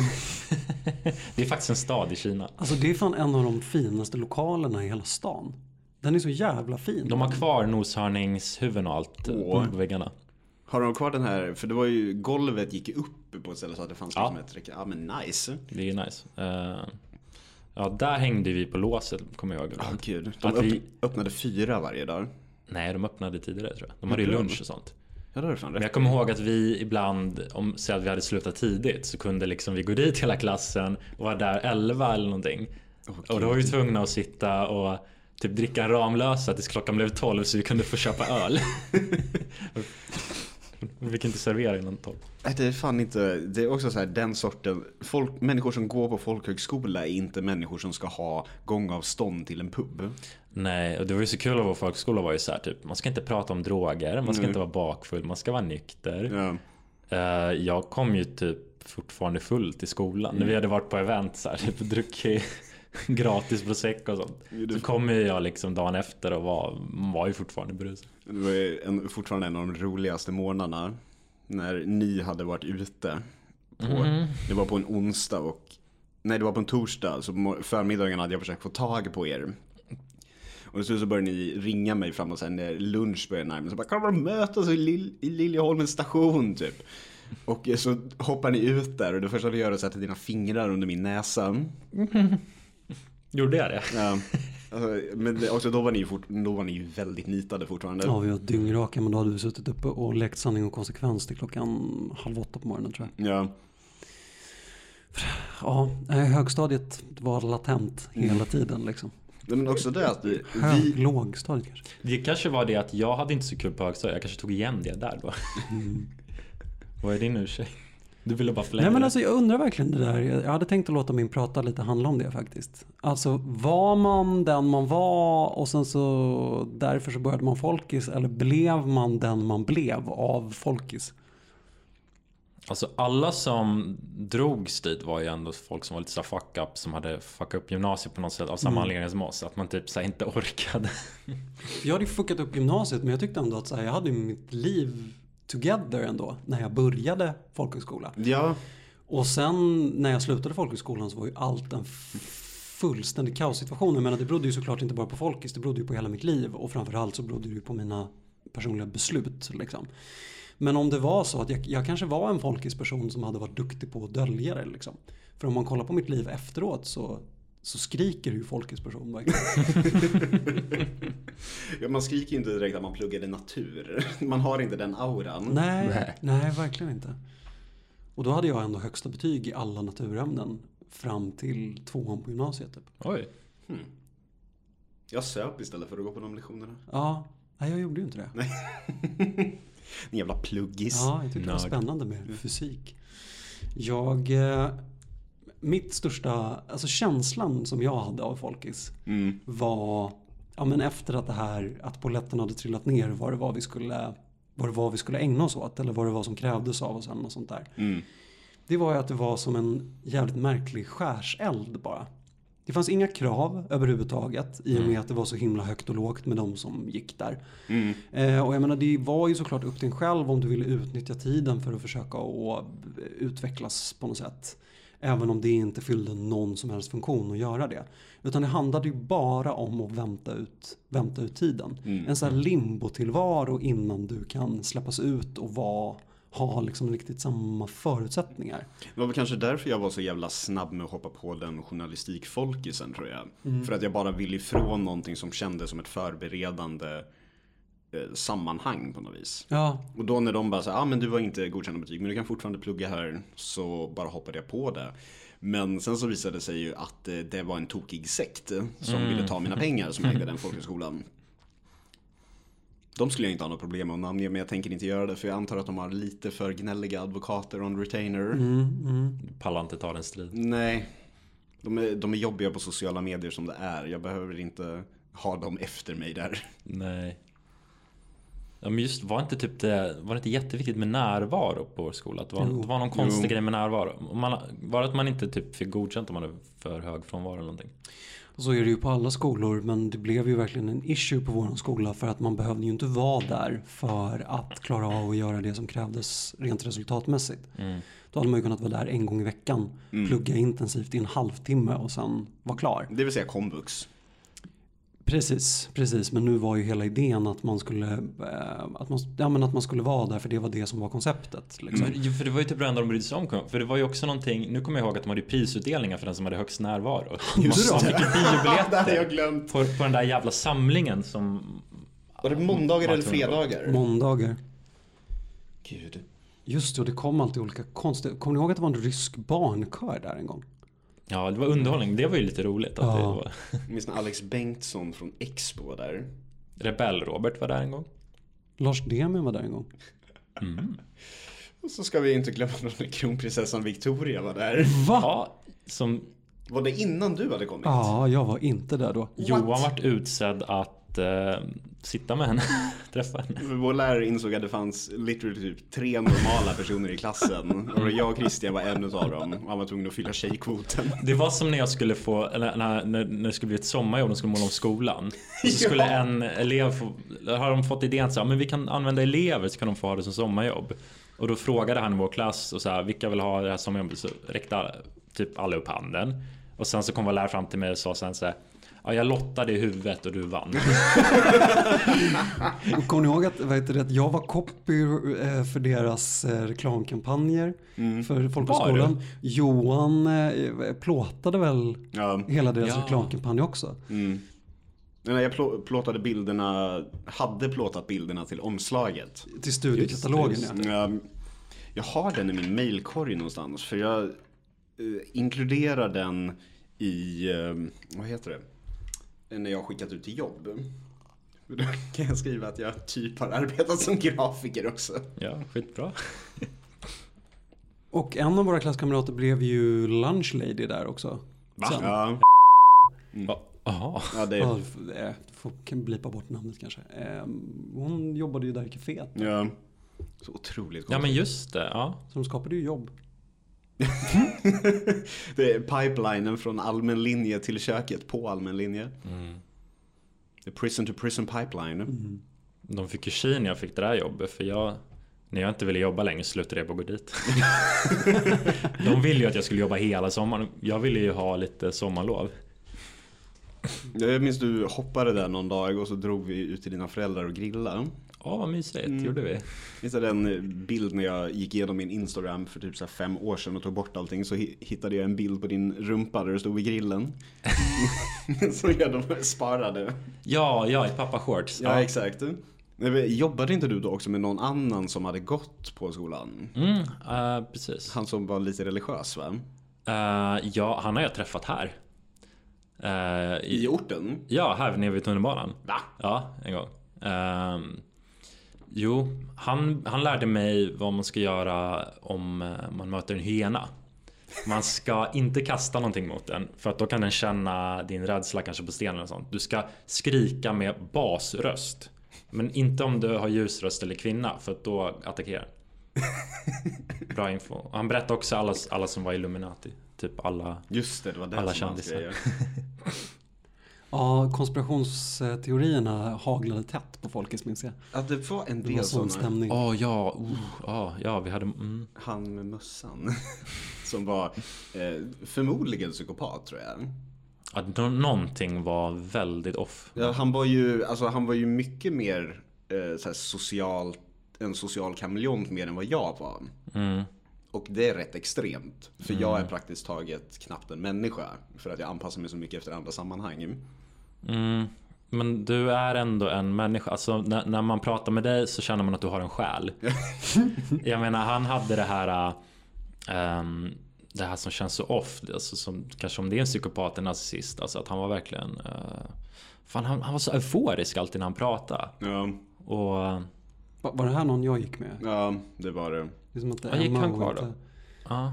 S1: det är faktiskt en stad i Kina.
S3: Alltså det är fan en av de finaste lokalerna i hela stan. Den är så jävla fin.
S1: De har kvar noshörningshuvuden och allt eh,
S2: Åh.
S1: på väggarna.
S2: Har de kvar den här? För det var ju golvet gick upp på ett ställe så att det fanns
S1: Ja.
S2: liksom ett räcke. Ja men nice.
S1: Det är nice. Eh, ja, där hängde vi på låset kommer jag ihåg.
S2: Ja gud. De
S1: Att
S2: öpp-
S1: vi-
S2: öppnade fyra varje dag.
S1: Nej, de öppnade tidigare tror jag. De hade ju lunch och sånt.
S2: Ja det har du fan
S1: Men
S2: rätt.
S1: jag kommer ihåg att vi ibland, om säg att vi hade slutat tidigt, så kunde liksom vi gå dit hela klassen och vara där 11 eller någonting. Och då var vi tvungna att sitta och typ dricka en Ramlösa tills klockan blev 12 så vi kunde få köpa <laughs> öl. vi fick inte servera innan 12.
S2: Nej, Äh, Det är fan inte, det är också så här den sorten, folk, människor som går på folkhögskola är inte människor som ska ha gångavstånd till en pub.
S1: Nej, och det var ju så kul att vår folkskola var ju så här typ, man ska inte prata om droger, man ska inte vara bakfull, man ska vara nykter.
S2: Ja.
S1: Eh, jag kom ju typ fortfarande full till skolan. När vi hade varit på event så här, <laughs> typ druckit gratis prosecco och sånt. Så kom ju jag liksom dagen efter och var, var ju fortfarande brusad.
S2: Det var ju en, fortfarande en av de roligaste månaderna. När ni hade varit ute. På, Det var på en onsdag och Nej det var på en torsdag så på mor- förmiddagen hade jag försökt få tag på er. Och så, så började ni ringa mig framåt sen när lunch började närma sig. Så bara, Kan vi mötas i, Lil- i Liljeholmens station typ? Och eh, så hoppar ni ut där och det första du gör är att sätta dina fingrar under min näsa.
S1: Gjorde jag det?
S2: Ja. Alltså, Men det- också då var ni ju fort, då var ni ju väldigt nitade fortfarande.
S3: Ja, vi var dyngraka men då hade vi suttit uppe och lekt sanning och konsekvens till klockan halv åtta på morgonen tror jag.
S2: Ja.
S3: Ja, eh, högstadiet var latent
S1: Mm.
S3: hela tiden liksom.
S2: Nej, Men också det att vi,
S3: Hög,
S2: vi
S3: lågstadiet kanske.
S1: Det kanske var det att jag hade inte så kul på högstadiet. Jag kanske tog igen det där <laughs> då. Vad är din ursäkt? Du ville bara förlänga
S3: Nej men
S1: det.
S3: alltså jag undrar verkligen det där. Jag jag hade tänkt att låta min prata lite handla om det faktiskt. Alltså var man den man var och sen så därför så började man folkis eller blev man den man blev av folkis?
S1: Alltså alla som drogs dit var ju ändå folk som var lite så här fuck up som hade fuckat upp gymnasiet på något sätt av samma anledning som oss. Att man typ så här inte <laughs> orkade.
S3: Jag hade ju fuckat upp gymnasiet men jag tyckte ändå att så här, jag hade ju mitt liv together ändå när jag började folkhögskola.
S2: Ja,
S3: Och sen när jag slutade folkhögskolan så var ju allt en f- fullständig kaossituation. Jag menar det berodde ju såklart inte bara på folkis, det berodde ju på hela mitt liv och framförallt så berodde det ju på mina personliga beslut. Liksom. Men om det var så att jag, jag kanske var en folkisperson som hade varit duktig på att dölja det. Liksom. För om man kollar på mitt liv efteråt så så skriker ju folkets person verkligen.
S2: Ja, man skriker ju inte direkt att man pluggade natur. <laughs> Man har inte den auran.
S3: nej, nej, verkligen inte. Och då hade jag ändå högsta betyg i alla naturämnen fram till tvåan på gymnasiet. Typ.
S1: Oj.
S2: Jag söp istället för att gå på de lektionerna.
S3: Ja, nej, jag gjorde ju inte det.
S2: En jävla pluggis.
S3: Ja, jag tyckte det var
S1: Nörd.
S3: spännande med fysik. Jag... eh, Mitt största... Alltså känslan som jag hade av folkis var... Ja, men efter att det här... Att polletten hade trillat ner vad det var vi skulle... Vad det var vi skulle ägna oss åt. Eller vad det var som krävdes av oss. Eller något sånt där.
S2: Mm.
S3: Det var ju att det var som en jävligt märklig skärseld bara. Det fanns inga krav överhuvudtaget i och med att det var så himla högt och lågt med de som gick där. Eh, och jag menar, det var ju såklart upp till en själv om du ville utnyttja tiden för att försöka att utvecklas på något sätt. Även om det inte fyllde någon som helst funktion att göra det. Utan det handlade ju bara om att vänta ut, vänta ut tiden. En sån här limbo-tillvaro innan du kan släppas ut och vara, ha liksom riktigt samma förutsättningar.
S2: Det var väl kanske därför jag var så jävla snabb med att hoppa på den journalistikfolkisen tror jag. För att jag bara ville ifrån någonting som kändes som ett förberedande eh, sammanhang på något vis.
S3: Ja,
S2: Och då när de bara sa, ah, men du var inte godkända betyg men du kan fortfarande plugga här. Så bara hoppade jag på det. Men sen så visade det sig ju att eh, det var en tokig sekt eh, som ville ta mina pengar som ägde den folkhögskolan. De skulle jag inte ha något problem med att namnge men jag tänker inte göra det för jag antar att de har lite för gnälliga advokater on retainer.
S1: Pallar inte ta den striden.
S2: Nej, de är, de är jobbiga på sociala medier som det är. Jag behöver inte ha dem efter mig där.
S1: Nej. Ja, men just var inte typ det, var det inte jätteviktigt med närvaro på vår skola? Att det, var, det var någon konstig grej med närvaro. Om Man, var det att man inte typ fick godkänt om man hade för hög frånvaro eller någonting?
S3: Och så är det ju på alla skolor men det blev ju verkligen en issue på vår skola för att man behövde ju inte vara där för att klara av att göra det som krävdes rent resultatmässigt. Då hade man ju kunnat vara där en gång i veckan, plugga intensivt i en halvtimme och sen vara klar.
S2: Det vill säga komvux.
S3: Precis, precis. Men nu var ju hela idén att man skulle, eh, att man, ja, men att man skulle vara där för det var det som var konceptet. Liksom.
S1: För, ju- för det var ju typ det enda de brydde sig om. För det var ju också någonting, nu kommer jag ihåg att de hade ju prisutdelningar för den som hade högst <laughs> närvaro.
S3: Just
S1: man
S3: det.
S1: fick ju <laughs>
S2: <laughs> det hade jag
S1: biobiljetter
S2: glömt.
S1: på, på den där jävla samlingen som...
S2: Var det måndagar
S1: Ja,
S2: eller
S1: tror jag det var.
S2: fredagar?
S3: Måndagar.
S2: Gud.
S3: Just det, och det kom alltid olika konstiga. Kommer ni ihåg att det var en rysk barnkör där en gång?
S1: Ja, det var underhållning. Det var ju lite roligt att det
S3: Ja.
S1: var... <laughs>
S2: Jag minns när Alex Bengtsson från Expo var där.
S1: Rebell-Robert var där en gång.
S3: Lars Demian var där en gång.
S2: Och så ska vi inte glömma när kronprinsessan Victoria var där.
S3: Va?
S1: Ja, som
S2: Var det innan du hade kommit?
S3: Ja, jag var inte där då.
S1: Johan vart utsedd att eh, sitta med henne, <laughs> träffa henne.
S2: Vår lärare insåg att det fanns literally typ tre normala personer i klassen. Och jag och Christian var en utav dem. Och han var tvungen att fylla tjejkvoten.
S1: Det var som när jag skulle få, eller när, när, när det skulle bli ett sommarjobb, de skulle måla om skolan. Och så
S2: Ja.
S1: skulle en elev få, har de fått idén så här, men vi kan använda elever så kan de få ha det som sommarjobb. Och då frågade han i vår klass och så här, vilka vill ha det här sommarjobbet? Så räckte alla- typ alla upp handen. Och sen så kom vår lärare fram till mig och sa sen så här, ja jag lottade i huvudet och du vann.
S3: Och Kommer ni ihåg att, vad heter det, att jag var copy eh, för deras eh, reklamkampanjer för
S1: Mm. Var
S3: folkhögskolan? Johan eh, plåtade väl
S2: Ja.
S3: hela deras
S1: Ja. Mm.
S3: reklamkampanj också?
S2: Nej, jag plå- plåtade bilderna, hade plåtat bilderna till omslaget.
S3: Till studiekatalogen
S1: Just det,
S3: ja.
S2: Ehm, Jag har den i min mailkorg någonstans för jag eh, inkluderar den i, ehm, vad heter det, eh, när jag har skickat ut till jobb. Då <laughs> kan jag skriva att jag typ har arbetat som grafiker också.
S1: Ja, skitbra.
S3: Och en av våra klasskamrater blev ju lunch lady där också. Va?
S2: Ja,
S1: Ja, Jaha.
S2: ja det
S3: Ja, f- eh, får, kan blipa bort namnet kanske. Eh, hon jobbade ju där i kaféet.
S2: ja, så otroligt
S1: Ja
S2: konstigt.
S1: men just det, ja.
S3: Så de skapade ju jobb.
S2: Det är pipelinen från allmän linje till köket på allmän linje. The prison to prison pipeline.
S1: De fick ju tji när jag fick det där jobbet för jag när jag inte ville jobba längre så slutade jag bara gå <laughs> dit. De ville ju att jag skulle jobba hela sommaren. Jag ville ju ha lite sommarlov.
S2: Jag minns du hoppade där någon dag och så drog vi ut till dina föräldrar och grillade.
S1: Ja, vad mysigt. gjorde vi.
S2: Minns jag den eh, bild när jag gick igenom min Instagram för typ så här fem år sedan och tog bort allting så hi- hittade jag en bild på din rumpa där du stod vid
S1: <laughs>
S2: grillen. Som jag då sparade.
S1: Ja, ja, i pappa-shorts.
S2: Ja, exakt. Nej, men Jobbade inte du då också med någon annan som hade gått på skolan?
S1: Mm, eh, precis.
S2: Han som var lite religiös va?
S1: Eh, ja, han har jag träffat här. Eh, i,
S2: I orten?
S1: ja, här nere vid tunnelbanan.
S2: Va?
S1: Ja, en gång. Ehm, jo, han, han lärde mig vad man ska göra om eh, man möter en hyena. Man ska inte kasta någonting mot den för att då kan den känna din rädsla kanske på stenen eller sånt. Du ska skrika med basröst. Men inte om du har ljusröst eller kvinna för att då attackerar <laughs> den. Bra info. Och Han berättade också alla, alla som var Illuminati. Typ alla.
S2: Just det, det var det
S1: Alla
S2: som var hans
S1: kändisar.
S2: grejer.
S3: Ja, konspirationsteorierna haglade tätt på folket minns jag.
S2: Att det var en
S3: Det var
S2: del sådana.
S3: sån stämning.
S1: Åh ja, oh, ja, ja, vi hade... Mm.
S2: Han med mössan. <laughs> Som var eh, förmodligen psykopat tror jag.
S1: Att nå- någonting var väldigt off.
S2: Ja, han, var ju, alltså, han var ju mycket mer eh, så här, social, en social kameleont mer än vad jag var.
S1: Mm.
S2: Och det är rätt extremt. För jag är praktiskt taget knappt en människa. För att jag anpassar mig så mycket efter andra sammanhang.
S1: Mm. Men du är ändå en människa. Alltså, när, när man pratar med dig så känner man att du har en själ. Jag menar, han hade det här... äh, ehm, det här som känns så off. Alltså, som, kanske om det är en psykopat, en narcissist. Alltså att han var verkligen... eh, fan, han, han var så euforisk alltid när han pratade.
S2: Ja,
S1: Och... eh,
S3: Va- Var det här någon jag gick med?
S2: ja det var det.
S3: Det är som att
S1: Ja, gick
S3: Emma
S1: han
S3: och
S1: kvar
S3: inte-
S1: då? Ja.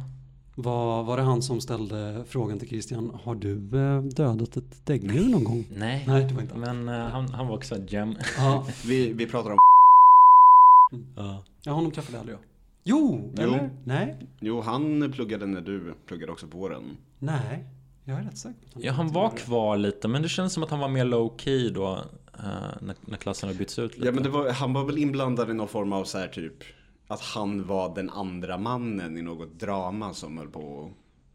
S3: Var, var det han som ställde frågan till Christian, har du eh, dödat ett däggdjur någon gång?
S1: nej.
S3: Nej, det var inte han.
S1: Men eh, han, han var också en gem.
S3: Ja,
S2: Vi, vi pratar om <laughs>
S1: Ja.
S3: ja, honom träffade aldrig jag. Jo,
S2: Jo.
S3: eller? Nej,
S2: Jo, han pluggade när du pluggade också på våren.
S3: nej. Jag är rätt säker på att
S1: Ja, han var kvar lite, men det kändes som att han var mer low key då. eh, när, när klassen hade bytts ut lite.
S2: Ja, men det var, han var väl inblandad i någon form av så här typ att han var den andra mannen i något drama som höll på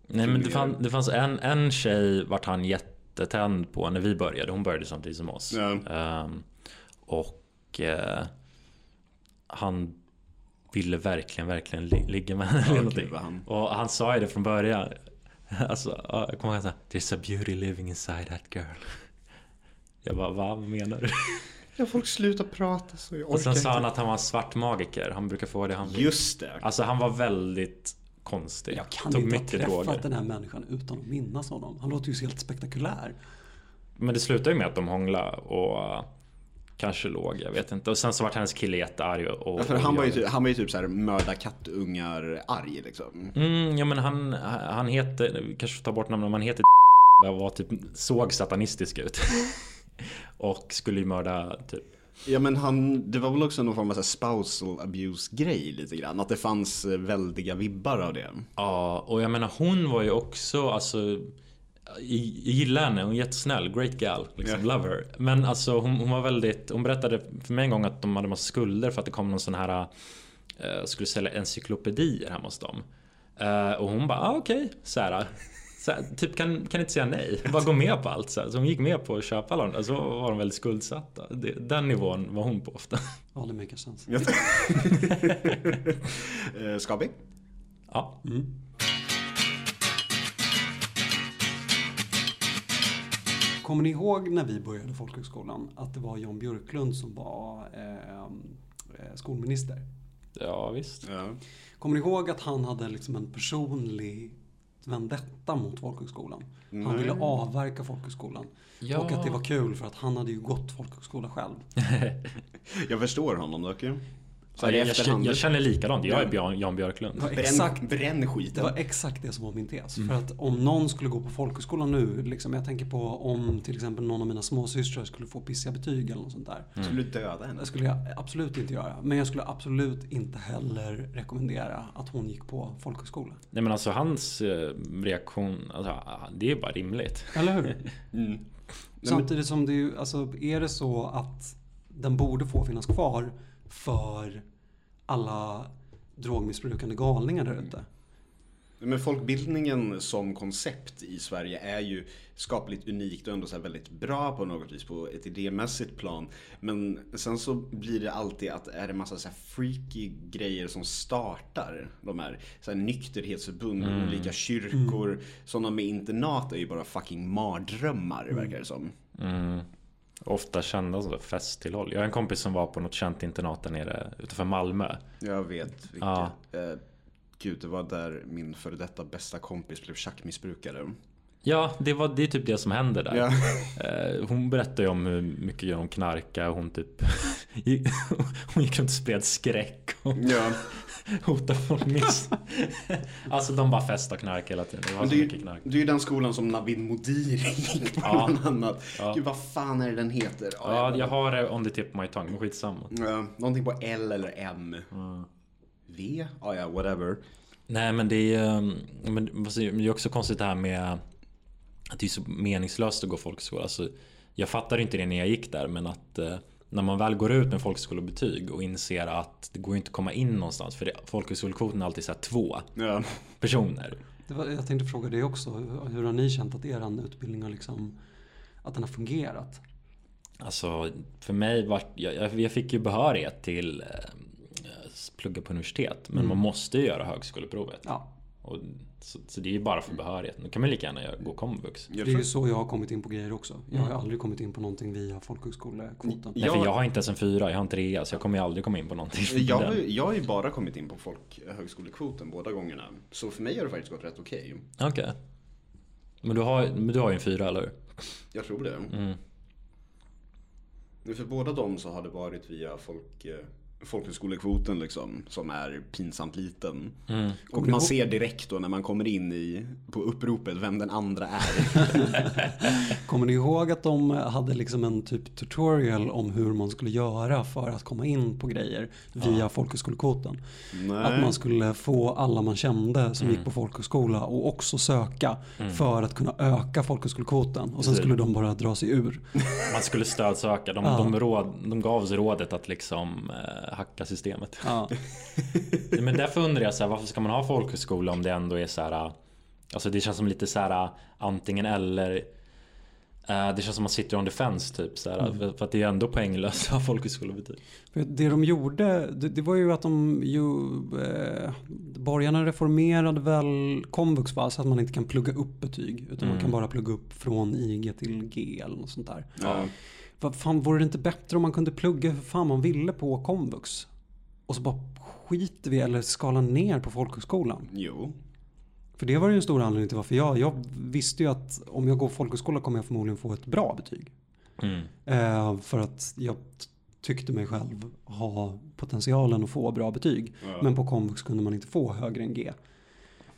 S1: Nej men det,
S2: turnera.
S1: fann, det fanns en, en tjej vart han jättetänd på när vi började. Hon började samtidigt som oss.
S2: Ja.
S1: Ehm, och eh, han ville verkligen, verkligen li- ligga med henne. eller någonting.
S2: kliva han.
S1: Och han sa ju det från början. <laughs> Alltså, ja, jag kommer ihåg att There's a beauty living inside that girl. Jag bara, va? Vad menar
S3: <laughs>
S1: du?
S2: Ja, folk slutar prata så jag
S1: Och sen sa han att han var en svart magiker. Han brukar få det han vill.
S2: Just det.
S1: Alltså han var väldigt konstig.
S3: Jag kan
S1: Tog
S3: inte ha
S1: mycket
S3: träffat
S1: droger.
S3: den här människan utan att minnas honom. Han låter ju så helt spektakulär.
S1: Men det slutade ju med att de hånglade och eh, kanske låg, jag vet inte. Och sen så vart hennes kille jättearg och...
S2: Ja, för
S1: och
S2: han, var ju
S1: jag-
S2: typ, han var ju typ så här mörda kattungar-arg liksom.
S1: Mm, ja men han, han heter, vi kanske får ta bort namnet, men han heter <laughs> och var typ, såg satanistisk ut. <laughs> och skulle ju mörda typ.
S2: Ja men han, det var väl också någon form av så här spousal abuse-grej lite grann. Att det fanns eh, väldiga vibbar av det.
S1: Ja, och jag menar hon var ju också, alltså jag gillar henne, hon är jättesnäll, great gal, liksom, love her. Men alltså hon, hon var väldigt, hon berättade för mig en gång att de hade massa skulder för att det kom någon sån här, eh, skulle sälja encyklopedier hemma hos dem. Eh, och hon bara, ah, okej, så här. Så här, typ kan, kan inte säga nej, bara gå med på allt. Så, här. så hon gick med på att köpa alla de där, så var de väldigt skuldsatta. Det, den nivån var hon på ofta. <laughs>
S3: Ja, det make sense.
S2: Eh, Skabig?
S1: Ja.
S2: Mm.
S3: Kommer ni ihåg när vi började folkhögskolan att det var Jan Björklund som var eh, eh, skolminister?
S1: ja, visst.
S2: Ja.
S3: Kommer ni ihåg att han hade liksom en personlig vendetta mot folkhögskolan? Han ville avverka folkhögskolan.
S1: Ja.
S3: Och att det var kul för att han hade ju gått folkhögskola själv.
S2: Jag förstår honom dock ju. Så här
S1: Jag,
S2: i
S1: jag, känner-
S2: efterhand.
S1: jag känner likadant, jag är Björn, Jan Björklund.
S3: Det var exakt
S2: Bränn, bränn skiten.
S3: Det var exakt det som var min tes. För att om någon skulle gå på folkhögskola nu, liksom, jag tänker på om till exempel någon av mina småsystrar skulle få pissiga betyg eller något sånt där.
S2: Skulle du döda henne?
S3: Det skulle jag absolut inte göra. Men jag skulle absolut inte heller rekommendera att hon gick på folkhögskola.
S1: Nej men alltså hans eh, reaktion, alltså, det är bara rimligt.
S3: Eller hur? Samtidigt som det är ju, alltså är det så att den borde få finnas kvar för alla drogmissbrukande galningar där ute.
S2: Men folkbildningen som koncept i Sverige är ju skapligt unikt och ändå så här väldigt bra på något vis på ett idémässigt plan. Men sen så blir det alltid att är det massa så här freaky grejer som startar de här, så här nykterhetsförbund, olika kyrkor, sådana med internat är ju bara fucking mardrömmar verkar det som.
S1: Ofta kända sådär festtillhåll. Jag har en kompis som var på något känt internat där nere utanför Malmö.
S2: Jag vet vilket.
S1: Ja.
S2: Eh, gud, det var där min före detta bästa kompis blev schackmissbrukare.
S1: Ja, det, var, det är typ det som händer där.
S2: Ja.
S1: Eh, Hon berättade ju om hur mycket hon knarkade och hon typ <laughs> gick- Hon gick runt och spred skräck och
S2: Ja.
S1: hotade folk minst. Alltså de bara festade och knarkade hela tiden. Det var
S2: Men
S1: så
S2: det, är
S1: mycket
S2: ju,
S1: knark.
S2: det är ju den skolan som Navid Modiri gick på
S1: Ja.
S2: bland annat.
S1: Ja.
S2: Gud, vad fan är det den heter? Ja,
S1: Ja,
S2: jag-
S1: jag har det on the tip of my tongue, men skitsamma.
S2: Ja, någonting på L eller M. V? Ja, ja, whatever. Eh,
S1: Nej men det är ju ehm, men, vad säger- men det är också konstigt det här med att det är så meningslöst att gå folkskola. Alltså, jag fattade inte det när jag gick där men att eh, när man väl går ut med folkhögskolebetyg och inser att det går ju inte att komma in någonstans för det- folkhögskolekvoten är alltid så här två
S2: Ja.
S1: personer.
S3: Det var, jag tänkte fråga dig också. Hur, hur har ni känt att er utbildning har, liksom, att den har fungerat?
S1: Alltså för mig var jag, jag- jag fick ju behörighet till eh, plugga på universitet men man måste ju göra högskoleprovet.
S3: Ja,
S1: Och, så, så det är ju bara för behörigheten. Då kan man lika gärna göra- gå komvux.
S3: det
S2: Jag,
S3: är ju
S2: tror,
S3: så jag har kommit in på grejer också. Jag har ju aldrig kommit in på någonting via folkhögskolekvoten.
S1: Nej,
S2: Jag-
S1: för jag har inte ens en fyra, jag har en trea så jag kommer ju aldrig komma in på någonting. från
S2: jag, har
S1: den.
S2: ju- jag har ju bara kommit in på folkhögskolekvoten båda gångerna. Så för mig har det faktiskt gått rätt okej.
S1: <laughs> Okej. Men, du har, men du har ju en fyra, eller hur?
S2: Jag tror det. Nu För båda dem så har det varit via folk, eh, folkhögskolekvoten liksom, som är pinsamt liten. Och man ser direkt då när man kommer in i, på uppropet vem den andra är.
S3: Kommer ni ihåg att de hade liksom en typ tutorial om hur man skulle göra för att komma in på grejer via folkhögskolekvoten? Att man skulle få alla man kände som gick på folkhögskola och också söka för att kunna öka folkhögskolekvoten. Och sen skulle de bara dra sig ur.
S1: Man skulle stödsöka. De, de, råd, de gav oss rådet att liksom eh, hacka systemet. <laughs>
S3: Ja.
S1: Men därför undrar jag så här, varför ska man ha folkhögskola om det ändå är så här. Alltså det känns som lite så här eh, antingen eller. eh, Det känns som man sitter on the fence typ. Så här,
S2: Mm.
S1: för, för att det är ju ändå poänglöst att ha folkhögskolebetyg.
S3: För det de gjorde, det, det var ju att de ju, eh, borgarna reformerade väl komvux va? Så att man inte kan plugga upp betyg. Utan man kan bara plugga upp från IG till G eller något sånt där.
S2: Ja.
S3: Vad fan, vore det inte bättre om man kunde plugga hur fan man ville på komvux? Och så bara skiter vi eller skalar ner på folkhögskolan.
S2: Jo.
S3: För det var ju en stor anledning till varför jag, jag visste ju att om jag går folkhögskola kommer jag förmodligen få ett bra betyg.
S1: Mm.
S3: Eh, för att jag t- tyckte mig själv ha potentialen att få bra betyg. Men på komvux kunde man inte få högre än G.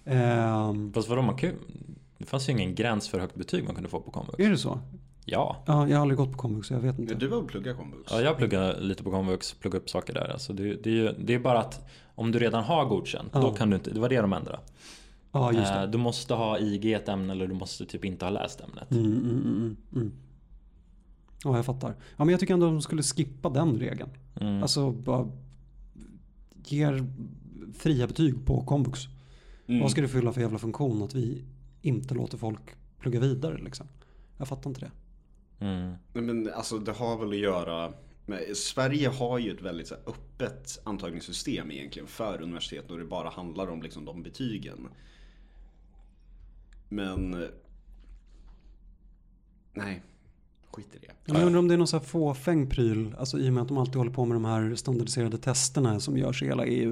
S3: Ehm,
S1: Fast vadå, man kan, ju- det fanns ju ingen gräns för hur högt betyg man kunde få på komvux.
S3: är det så?
S1: Ja.
S3: Ja, jag har aldrig gått på komvux så jag vet inte.
S2: Du var och pluggade komvux.
S1: Ja, jag pluggar lite på komvux, pluggar upp saker där. Alltså det, det, är ju, det är bara att om du redan har godkänt, då kan du inte, det var det de ändrade.
S3: Ja, just det.
S1: Eh, Du måste ha IG ett ämne eller du måste typ inte ha läst ämnet.
S3: Mm, mm, mm, mm, mm. Ja, jag fattar. Ja, men jag tycker ändå de skulle skippa den regeln. Alltså, bara ger fria betyg på komvux. Vad ska det fylla för jävla funktion att vi inte låter folk plugga vidare liksom? Jag fattar inte det.
S1: Mm.
S2: Nej, Men alltså det har väl att göra med, Sverige har ju ett väldigt så här, öppet antagningssystem egentligen för universitet och det bara handlar om liksom, de betygen. Men... Nej, skit i det.
S3: Men jag undrar om det är någon så här fåfäng pryl, alltså i och med att de alltid håller på med de här standardiserade testerna som görs i hela EU.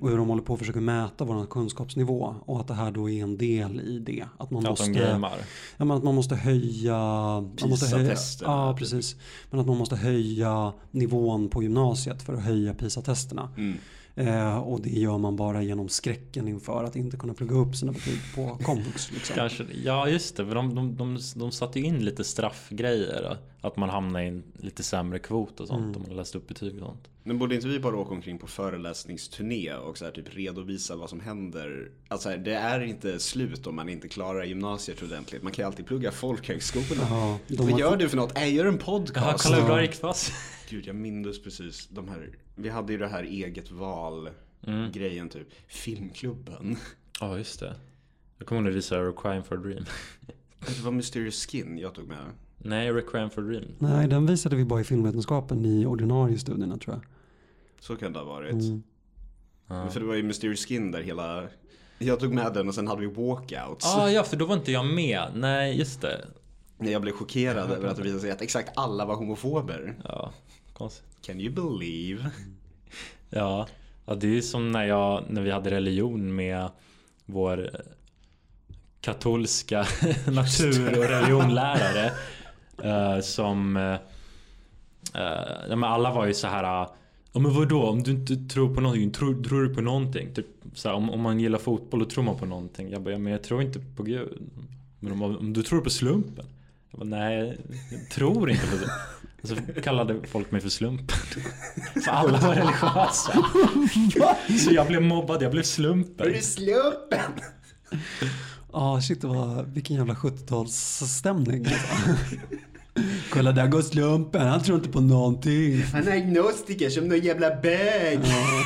S3: Och hur de håller på och försöker mäta vår kunskapsnivå. Och att det här då är en del i det. Att man
S1: Att de
S3: måste...
S1: gamear.
S3: Ja, men att man måste höja... man måste höja-
S2: PISA-testerna,
S3: Ja,
S2: typ.
S3: precis. Men att man måste höja nivån på gymnasiet för att höja PISA-testerna. Eh, och det gör man bara genom skräcken inför att inte kunna plugga upp sina betyg på komvux. Liksom.
S1: Kanske, ja just det, för de, de, de, de satte ju in lite straffgrejer. Att man hamnar i en lite sämre kvot och
S3: Mm.
S1: sånt om man läst upp betyg och sånt.
S2: Men borde inte vi bara åka omkring på föreläsningsturné och så här, typ redovisa vad som händer? Alltså, här, det är inte slut om man inte klarar gymnasiet ordentligt. Man kan ju alltid plugga folkhögskola.
S3: Ja, de har-
S2: vad gör du för något? Äh, gör en
S1: Jaha,
S2: podcast.
S1: kolla
S3: Alltså-
S1: hur bra det gick för oss.
S2: Gud, jag minns precis de
S1: Mm.
S2: här. Vi hade ju det här eget val grejen typ. Filmklubben.
S1: Ja, just det. Jag kommer nog visa Requiem for a Dream.
S2: Det var Mysterious Skin jag tog med.
S1: Nej, Requiem for a Dream.
S3: Nej, den visade vi bara i filmvetenskapen i ordinariestudierna tror jag.
S2: Så kan det ha varit.
S3: Mm.
S1: Ja,
S2: För det var ju Mysterious Skin där hela... Jag tog med den och sen hade vi walkouts.
S1: ah, ja, för då var inte jag med. Nej, just det.
S2: Jag blev chockerad över att det visade sig att exakt alla var homofober.
S1: Ja, konstigt.
S2: Can you believe?
S1: Ja, ja det är ju som när, jag, när vi hade religion med vår eh, katolska <laughs> natur och religionlärare. <laughs> eh, som... eh, eh, ja, men alla var ju så här... eh, Ja men vadå, om du inte tror på någonting, tror, tror du på någonting? Typ, så här, om, om man gillar fotboll, då tror man på någonting. Jag bara, ja, men jag tror inte på Gud. Men om, om du tror på slumpen? Jag bara, nej, jag tror inte på det. Och så kallade folk mig för slumpen. <laughs> För alla var religiösa. Så jag blev mobbad, jag blev slumpen.
S2: slumpen?
S3: Ja, shit, det var, vilken jävla 70-talsstämning. alltså. <laughs> Kolla, där går slumpen. Han tror inte på någonting.
S2: Han är agnostiker som någon jävla bög.
S3: Ja.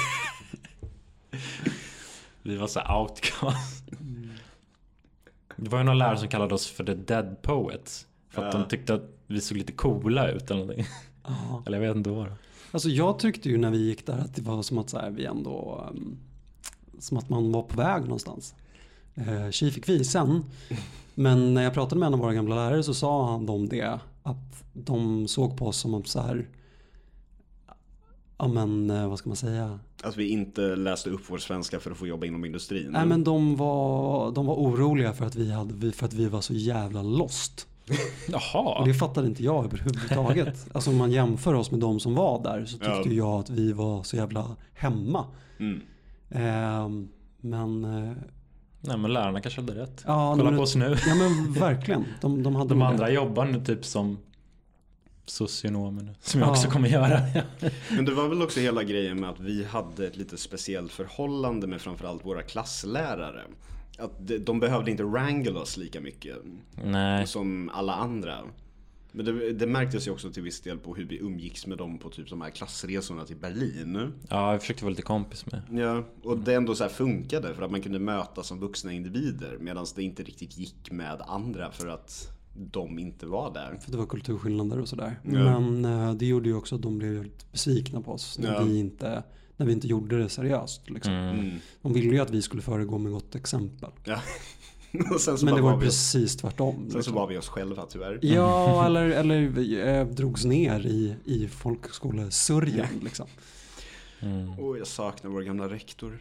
S1: Vi var så här outcast.
S3: Mm.
S1: Det var ju någon lärare som kallade oss för the dead poets. För att
S2: Ja.
S1: de tyckte att vi såg lite coola ut eller någonting.
S3: Ja.
S1: Eller jag vet inte vad. det var.
S3: Alltså jag tyckte ju när vi gick där att det var som att så här, vi ändå, ehm, som att man var på väg någonstans. Eh, Tji fick vi sen. Men när jag pratade med en av våra gamla lärare så sa han om det. Att de såg på oss som att så här, ja men eh, vad ska man säga?
S2: Att vi inte läste upp vår svenska för att få jobba inom industrin.
S3: Nej men de var, de var oroliga för att, vi hade, vi- för att vi var så jävla lost. Och
S1: Jaha.
S3: det fattade inte
S2: <laughs>
S3: jag överhuvudtaget. Alltså om man jämför oss med de som var där så tyckte
S2: Ja.
S3: jag att vi var så jävla hemma.
S2: Mm.
S3: Ehm, men eh,
S1: Nej men lärarna kanske hade rätt.
S3: ja, Mm.
S1: Kolla
S3: men,
S1: på oss nu.
S3: ja men verkligen. De, de hade
S1: De
S3: nog
S1: andra
S3: det.
S1: jobbar nu typ som socionomer nu. Som jag
S3: Ja.
S1: också kommer göra.
S2: Men det var väl också hela grejen med att vi hade ett lite speciellt förhållande med framförallt våra klasslärare. Att de- de behövde inte wrangle oss lika mycket
S1: Nej.
S2: som alla andra. Men det, det märktes ju också till viss del på hur vi umgicks med dem på typ de här klassresorna till Berlin.
S1: Ja, jag försökte vara lite kompis med.
S2: Ja, och det ändå så här funkade för att man kunde mötas som vuxna individer medan det inte riktigt gick med andra för att de inte var där. <laughs>
S3: För det var kulturskillnader och sådär.
S2: Ja.
S3: Men eh, det gjorde ju också att de blev ju lite besvikna på oss när,
S2: Ja.
S3: vi, inte, när vi inte gjorde det seriöst. Liksom.
S2: Mm.
S3: De ville ju att vi skulle föregå med gott exempel.
S2: Ja. och sen så,
S3: Men
S2: bara
S3: det
S2: var
S3: var ju
S2: vi oss,
S3: precis tvärtom.
S2: sen så
S3: liksom.
S2: var vi oss själva tyvärr.
S3: Ja, eller, eller eh, drogs ner i, i folkhögskolesörjan. Liksom.
S1: Mm.
S2: Och jag saknar vår gamla rektor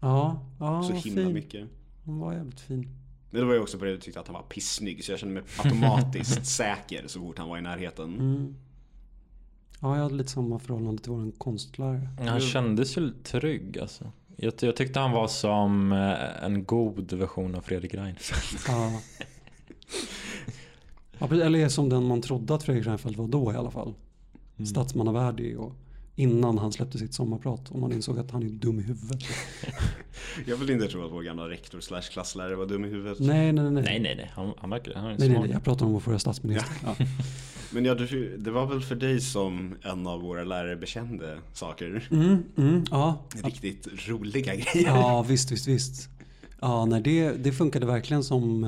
S3: Ja, ja
S2: så
S3: vad
S2: himla
S3: fin.
S2: mycket.
S3: Hon var jävligt fin.
S2: Men det var ju också på det jag tyckte att han var pissnygg så jag kände mig
S3: <laughs>
S2: automatiskt säker så fort han var i närheten.
S3: Mm. Ja, jag hade lite samma förhållande till vår konstlärare.
S1: Han kändes ju lite trygg alltså. Jag, jag tyckte han var som eh, en god version av Fredrik Reinfeldt.
S3: Ja. Ja, precis, eller som den man trodde att Fredrik Reinfeldt var då i alla fall. Statsmannavärdig och innan han släppte sitt sommarprat. Och man insåg att han är dum i huvudet.
S2: Jag vill inte tro att vår gamla rektor slash klasslärare var dum i huvudet.
S3: Nej, nej, nej. nej.
S1: Nej, nej, nej. Han, han verkar han är
S3: Nej, nej,
S1: smart.
S3: nej, jag pratar om vår förra statsminister. Ja.
S2: Men ja, du, det var väl för dig som en av våra lärare bekände saker.
S3: Mm, mm, ja.
S2: Riktigt roliga grejer.
S3: Ja, visst, visst, visst. Ja, nej, det, det funkade verkligen som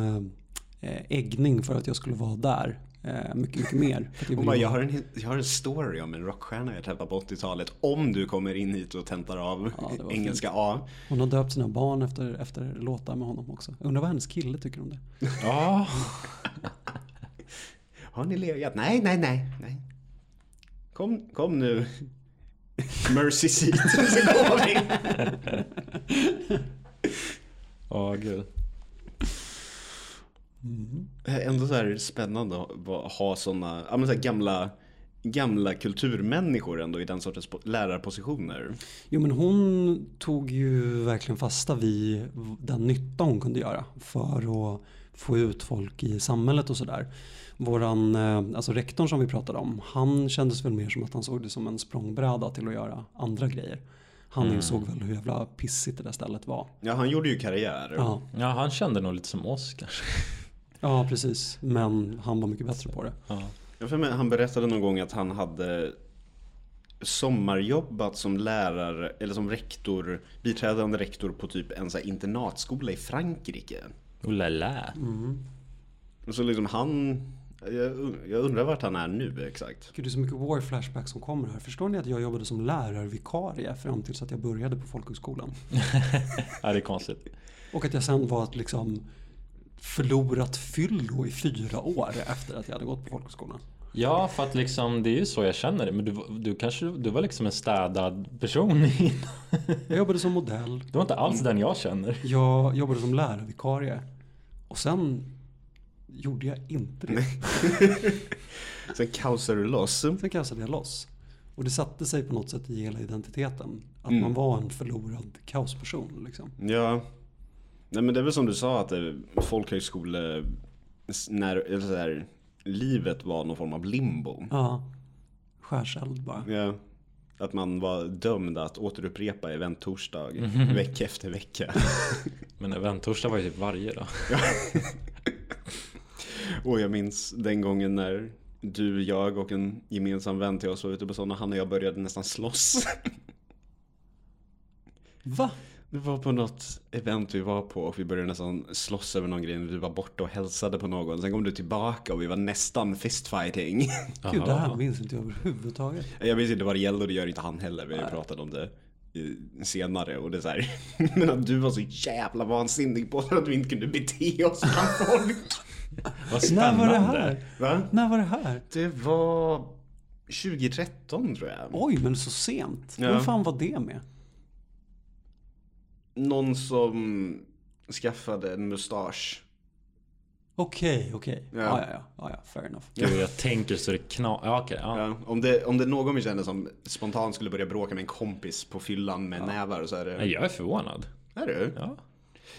S3: eh, äggning för att jag skulle vara där. Eh, mycket, mycket mer. För att
S2: Hon bara,
S3: ville
S2: jag
S3: vara-
S2: har, en, jag har en story om en rockstjärna jag träffade på 80-talet. Om du kommer in hit och tentar av
S3: Ja, det var
S2: engelska A.
S3: Hon har döpt sina barn efter, efter låtar med honom också. Jag undrar vad hennes kille tycker om det.
S1: Ja.
S2: Har ni legat? Nej, nej, nej. nej. Kom, kom
S3: <laughs>
S2: nu. Mercy seat. <laughs> Så går vi.
S1: Ja, gud.
S2: Eh, Ändå så här spännande att va- ha såna, ja men så här gamla, gamla kulturmänniskor ändå i den sortens po- lärarpositioner.
S3: Jo men hon tog ju verkligen fasta vid den nytta hon kunde göra för att få ut folk i samhället och sådär. Våran, eh, alltså rektorn som vi pratade om, han kändes väl mer som att han såg det som en språngbräda till att göra andra grejer. Han insåg väl hur jävla pissigt det där stället var.
S2: Ja, han gjorde ju karriär.
S3: Ja,
S1: Ja, han kände nog lite som oss kanske.
S3: ja precis. Men han var mycket bättre på det.
S1: Ja.
S2: Jag för mig, han berättade någon gång att han hade sommarjobbat som lärare eller som rektor, biträdande rektor på typ en så här internatskola i Frankrike.
S1: Oh la la.
S2: Och så liksom han, jag, jag undrar vart han är nu exakt.
S3: Gud, det är så mycket war flashback som kommer här. Förstår ni att jag jobbade som lärarvikarie fram tills att jag började på folkhögskolan?
S1: Ja, det är konstigt.
S3: Och att jag sen var ett liksom förlorat fyllo i fyra år efter att jag hade gått på folkhögskolan.
S1: Ja, för att liksom det är ju så jag känner det. Men du, du kanske du var liksom en städad person <laughs> innan.
S3: Jag jobbade som modell,
S1: Du var inte alls den jag känner.
S3: jag jobbade som lärarvikarie och sen gjorde jag inte det.
S2: Sen kaosar du loss.
S3: Sen kaosade jag loss. Och det satte sig på något sätt i hela identiteten. Att man var en förlorad kaosperson.
S2: Mm.
S3: Liksom.
S2: Ja. Nej men det är väl som du sa att eh, folkhögskole, s- när, eller så här, livet var någon form av limbo.
S3: Ja, skärseld bara.
S2: Ja. Att man var dömd att återupprepa event torsdag vecka efter vecka. <laughs>
S1: Men eventtorsdag var ju typ varje dag.
S2: Och jag minns den gången när du, jag och en gemensam vän till oss var ute på sådana. Han och jag började nästan slåss. <laughs>
S3: Va?
S2: Det var på något event vi var på och vi började nästan slåss över någon grej. Vi var borta och hälsade på någon. Sen kom du tillbaka och vi var nästan fistfighting. <laughs>
S3: Gud, det här minns inte jag överhuvudtaget.
S2: Jag vet inte vad det gäller och det gör inte han heller. Vi har ju pratat om det eh, senare och det är så här. <laughs> Men att du var så jävla vansinnig på det att vi inte kunde bete oss bland folk.
S1: Vad
S3: När
S1: spännande.
S3: var det här?
S2: <laughs> Va?
S3: När var det här?
S2: Det var 2013 tror jag.
S3: Oj, men så sent.
S2: Ja.
S3: Vem fan var det med?
S2: Någon som skaffade en mustasch.
S3: Okej, okej.
S2: Ja.
S3: Ja. Ja, ja, ja, ja. Fair enough.
S1: Gud, jag tänker så det knas. Ja, okej. ja.
S2: Ja, om, det, om det är någon vi känner som spontant skulle börja bråka med en kompis på fyllan med nävar så är det...
S1: Nej, Jag är förvånad.
S2: Är du?
S1: Ja.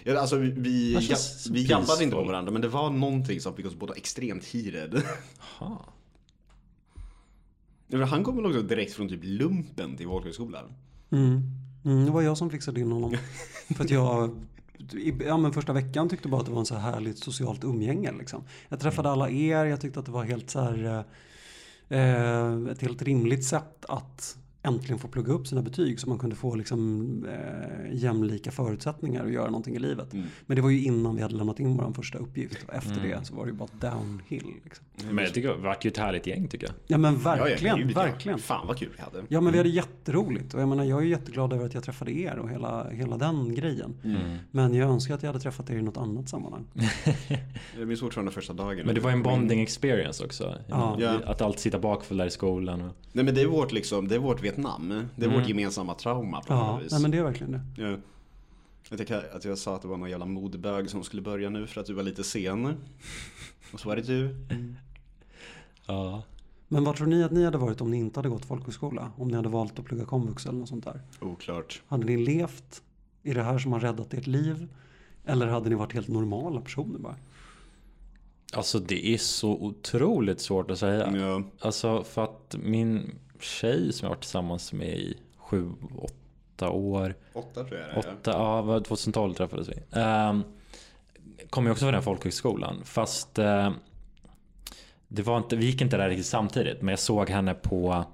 S2: Ja, alltså vi, vi,
S1: Man känns
S2: ja, vi
S1: peaceful.
S2: jabbade inte på varandra men det var någonting som fick oss båda extremt heated. <laughs>
S1: Ha.
S2: Ja, men Han kom väl också direkt från typ lumpen till folkhögskolan?
S3: Mm. Mm, det var jag som fixade
S2: <laughs>
S3: in honom. För att jag, i- ja, men första veckan tyckte bara att det var en så här härligt socialt umgänge. Liksom. Jag träffade alla er, jag tyckte att det var helt så här, eh, ett helt rimligt sätt att äntligen få plugga upp sina betyg så man kunde få liksom, eh, jämlika förutsättningar att göra någonting i livet.
S2: Mm.
S3: Men det var ju innan vi hade lämnat in vår första uppgift och efter det så var det ju bara downhill. Liksom.
S1: Men jag tycker det vart ju ett härligt gäng tycker jag.
S3: Ja men
S2: Ja, ja,
S3: verkligen,
S2: gud, ja.
S3: verkligen.
S2: Fan vad kul vi hade.
S3: Ja men vi hade jätteroligt och jag menar jag är ju jätteglad över att jag träffade er och hela, hela den grejen. Men jag önskar att jag hade träffat er i något annat sammanhang.
S2: Jag minns fortfarande första dagen.
S1: Men det var en bonding experience också.
S3: Ja.
S2: Ja.
S1: Att alltid sitta bakfull där i skolan. Och...
S2: Nej men det är vårt liksom, det är vårt Vietnam. Det är vårt gemensamma trauma på
S3: Ja,
S2: något vis.
S3: nej, men det är verkligen det.
S2: Ja. Att, jag, kan- att jag sa att det var någon jävla modbög som skulle börja nu för att du var lite sen. Och så var det du.
S1: Ja.
S3: Men vad tror ni att ni hade varit om ni inte hade gått folkhögskola? Om ni hade valt att plugga komvux eller något sånt där?
S2: Oklart.
S3: Hade ni levt i det här som har räddat ert liv? Eller hade ni varit helt normala personer bara?
S1: Alltså det är så otroligt svårt att säga.
S2: Ja.
S1: Alltså för att min tjej som jag har varit tillsammans med i sju, åtta år.
S2: Åtta tror jag det är.
S1: Åtta, ja, vad- 2012 träffades vi. Ehm, kom ju också från den här folkhögskolan. Fast eh, det var inte, vi gick inte där riktigt samtidigt. Men jag såg henne på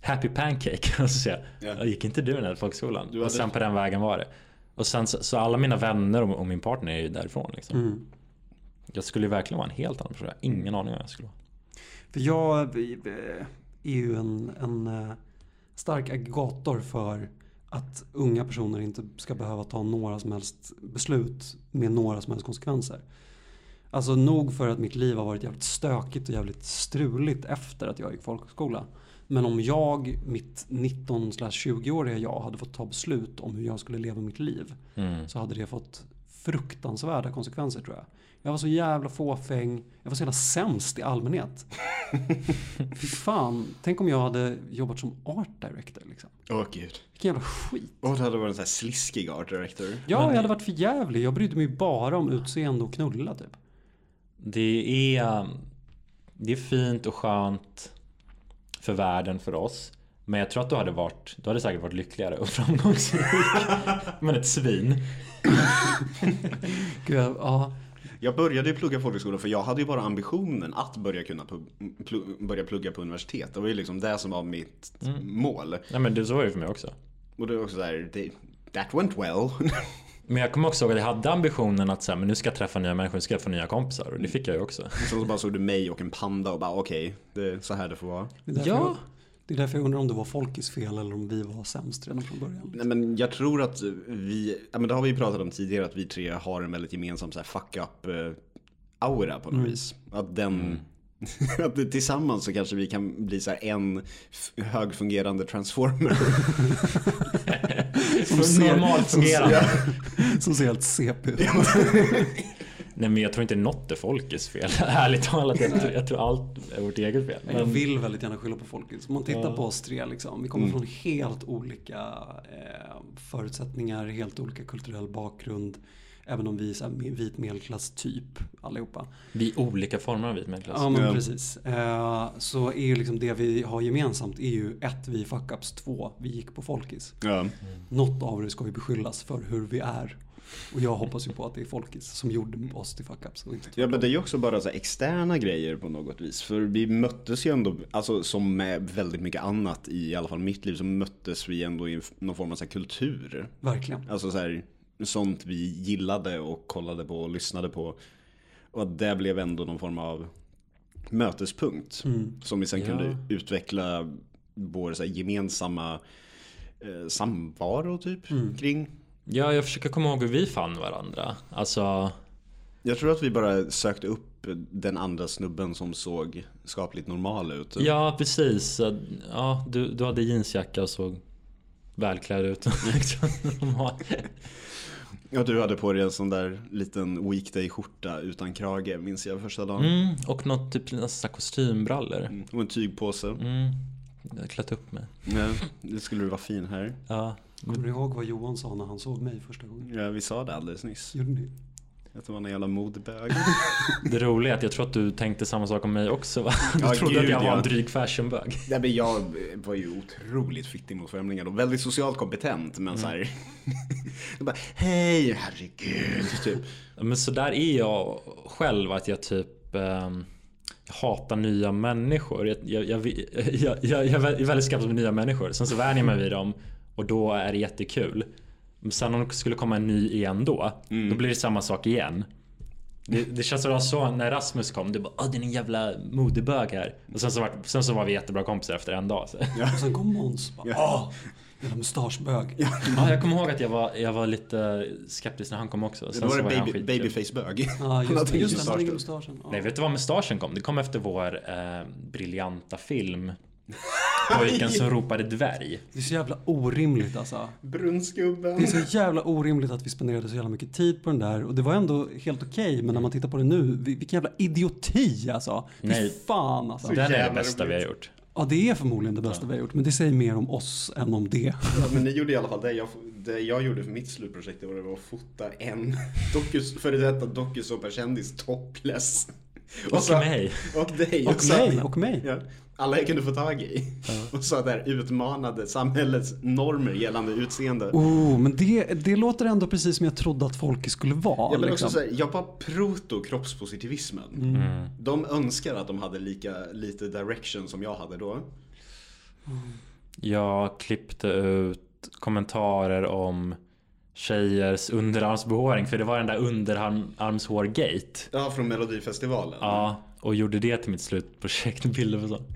S1: Happy Pancake. <laughs> Och så säger jag,
S2: Ja.
S1: gick inte du den här folkhögskolan?
S2: hade-
S1: Och sen på den vägen var det. Och sen så, så alla mina vänner och, och min partner är ju därifrån. Liksom.
S3: Mm.
S1: Jag skulle ju verkligen vara en helt annan person. Jag har ingen aning om jag skulle vara.
S3: För jag eh, är ju en, en eh, stark aggregator för att unga personer inte ska behöva ta några som helst beslut med några som helst konsekvenser. Alltså nog för att mitt liv har varit jävligt stökigt och jävligt struligt efter att jag gick folkhögskola. Men om jag, mitt 19-20-åriga jag, hade fått ta beslut om hur jag skulle leva mitt liv så hade det fått fruktansvärda konsekvenser tror jag. Jag var så jävla fåfäng. Jag var så jävla sämst
S1: <laughs>
S3: i allmänhet. Fy fan, tänk om jag hade jobbat som art director liksom.
S2: Åh gud.
S3: Vilken jävla skit.
S2: Åh, det hade varit en sån här sliskig art director.
S3: Ja, jag hade varit för jävlig. Jag brydde mig bara om utseende och knulla typ.
S1: Det är, det är fint och skönt för världen, för oss. Men jag tror att du hade varit, du hade säkert varit lyckligare och <laughs> framgångsrik. men ett svin.
S3: Gud, jag, ja,
S2: Jag började ju plugga folkhögskola för jag hade ju bara ambitionen att börja kunna pu- plu- börja plugga på universitet. Det var ju liksom det som var mitt mål.
S1: Nej men det så var det ju för mig också.
S2: Och det var också såhär, that went well. <laughs>
S1: Men jag kommer också ihåg att jag hade ambitionen att säga, men nu ska jag träffa nya människor, nu ska jag få nya kompisar. Och det fick jag ju <laughs> också.
S2: Sen så bara såg du mig och en panda och bara okej, det är så här det får vara.
S3: Det är därför
S1: Ja.
S3: Jag, det är därför jag undrar om det var folkis fel eller om vi var sämst redan från början.
S2: Nej, men jag tror att vi, ja, men det har vi ju pratat om tidigare, att vi tre har en väldigt gemensam så här, fuck up eh, aura på något vis. Att den, <laughs> att det- tillsammans så kanske vi kan bli så här, en f- högfungerande transformer. <laughs>
S3: Som
S1: normalt fungerande.
S3: Som ser helt CP ut.
S1: Nej men jag tror inte något är folkets fel. <laughs> Ärligt talat, jag tror, jag tror allt är vårt eget fel.
S3: Jag
S1: Men,
S3: vill väldigt gärna skylla på folkis. Om man tittar på oss tre liksom. Vi kommer
S2: Mm.
S3: från helt olika eh, förutsättningar, helt olika kulturell bakgrund. Även om vi är så här, med- vit medelklass typ allihopa.
S1: vi är olika former av vit medelklass.
S3: Ja men
S2: Ja.
S3: precis. Eh, så är ju liksom det vi har gemensamt är ju ett, vi är fuck-ups, två, vi gick på folkis.
S2: ja.
S3: Något av det ska ju beskyllas för hur vi är. Och jag hoppas ju på att det är folkis som gjorde oss till fuck-ups. och inte
S2: Ja men det är ju också bara så här externa grejer på något vis. För vi möttes ju ändå, alltså som med väldigt mycket annat i, i alla fall mitt liv, så möttes vi ändå i någon form av så här kultur.
S3: Verkligen.
S2: Alltså så här, sånt vi gillade och kollade på och lyssnade på. Och att det blev ändå någon form av mötespunkt. Som vi sen
S1: Ja.
S2: kunde utveckla vår så här, gemensamma eh, samvaro typ kring.
S1: Ja, jag försöker komma ihåg hur vi fann varandra. Alltså,
S2: Jag tror att vi bara sökte upp den andra snubben som såg skapligt normal ut.
S1: ja precis. Ja, du, du hade jeansjacka och såg välklädd
S2: <laughs>
S1: ut. Mm.
S2: Ja, du hade på dig en sån där liten weekday-skjorta utan krage minns jag första dagen.
S1: mm, och något typ nästan så här kostymbrallor.
S2: Och en tygpåse.
S1: Mm, jag har klätt upp mig.
S2: Ja, det skulle du vara fin här.
S1: Ja,
S3: Kommer du ihåg vad Johan sa när han såg mig första gången?
S2: Ja, vi sa det alldeles nyss.
S3: Gjorde ni?
S2: Att det var en jävla modebög.
S1: det roliga är att jag tror att du tänkte samma sak om mig också va? Du
S2: Ja,
S1: trodde
S2: gud,
S1: att jag var
S2: ja.
S1: en dryg fashionbög.
S2: <laughs> Nej, men jag var ju otroligt fittig mot främlingar och väldigt socialt kompetent. Men så här. <laughs> jag bara, hej, herregud. Typ.
S1: Men så där är jag själv att jag typ ehm, jag hatar nya människor. Jag, jag, jag, jag, jag, jag är väldigt skeptisk med nya människor. Sen så vänjer jag mig vid dem och då är det jättekul. Men sen om det skulle komma en ny igen då,
S2: Mm.
S1: då blir det samma sak igen. Det, det känns som det var så när Rasmus kom. Du bara Åh, det är en jävla modebög här. Och sen så, var, sen så var vi jättebra kompisar efter en
S2: <laughs>
S1: dag. Så.
S3: Och sen kom Måns och bara Åh! Jävla mustaschbög.
S1: Ja, jag kommer ihåg att jag var, jag var lite skeptisk när han kom också.
S2: Då
S1: Sen
S2: var
S1: så
S2: det
S1: var han
S2: baby,
S1: skitkul.
S2: babyface-bög.
S3: Ja
S2: <laughs> Han
S3: just
S2: hade
S3: det,
S2: ingen
S3: just det.
S2: mustasch
S3: Han hade ingen
S2: då.
S3: mustaschen. Ja.
S1: Nej, vet du var mustaschen kom? Det kom efter vår eh, briljanta
S2: <laughs>
S1: film. Pojken som ropade dvärg.
S3: Det är så jävla orimligt alltså. Det
S2: Brunnsgubben.
S3: är så jävla orimligt att vi spenderade så jävla mycket tid på den där. Och det var ändå helt okej. men när man tittar på det nu, vi- vilken jävla idioti alltså. Fy
S1: Nej.
S3: fan alltså.
S1: Den är det
S2: jävla
S1: bästa vi har
S2: roligt.
S1: gjort.
S3: Ja det är förmodligen det bästa vi har gjort. Men det säger mer om oss än om det.
S2: Ja, men ni gjorde i alla fall det. Jag, det jag gjorde för mitt slutprojekt det var det var att fota en dokus, före detta dokusåpakändis topless.
S1: Och
S2: så-
S1: mig.
S2: Och dig.
S3: Och
S2: så-
S3: mig, och mig.
S2: Ja, alla jag kunde få tag i. Och så där utmanade samhällets normer gällande utseende.
S3: Oh, men det, det låter ändå precis som jag trodde att folk skulle vara.
S2: Jag vill också
S3: liksom. Mm.
S2: säga, jag var proto-kroppspositivismen. De önskar att de hade lika lite direction som jag hade då.
S1: Jag klippte ut kommentarer om tjejers underarmsbehåring. För det var den där underarmshår-gate.
S2: Ja, från Melodifestivalen.
S1: Ja, och gjorde det till mitt slutprojekt. Bilder och sånt.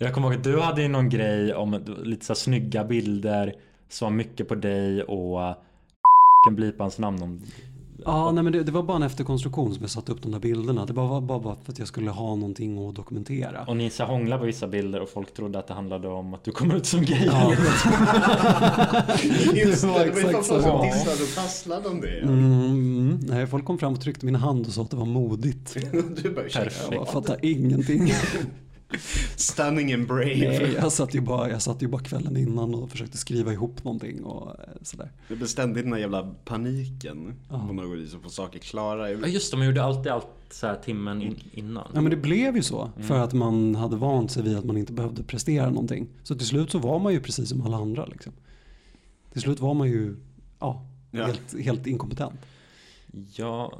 S1: Jag kommer ihåg att du hade ju någon grej om lite så här snygga bilder. Som var mycket på dig och <laughs> kan blipa hans namn om
S3: Ja, nej, men det, det var bara en efterkonstruktion som jag satte upp de där bilderna. Det var bara, bara för att jag skulle ha någonting att dokumentera.
S1: Och ni så hånglade på vissa bilder och folk trodde att det handlade om att du kommer ut som gay.
S3: Ja.
S2: <laughs>
S3: <laughs>
S2: Just det,
S3: det var
S2: det var ju
S3: exakt
S2: fan
S3: så
S2: folk
S3: det var.
S2: som dissade och tasslade om det.
S3: Mm, nej, folk kom fram och tryckte min hand och sa att det var modigt.
S2: <laughs> Du bara,
S1: Perfekt.
S2: Perfekt.
S3: Jag bara fattar ingenting.
S2: stunning and brave.
S3: Nej, jag, satt ju bara, jag satt ju bara kvällen innan och försökte skriva ihop någonting och eh, sådär.
S2: Det blir ständigt den här jävla paniken på något vis och få saker klara.
S1: Ja just det, man gjorde alltid allt så här timmen in, innan.
S3: Ja, men det blev ju så för att man hade vant sig vid att man inte behövde prestera någonting. Så till slut så var man ju precis som alla andra. Liksom. Till slut var man ju ja,
S2: Ja.
S3: Helt, helt inkompetent.
S1: Ja,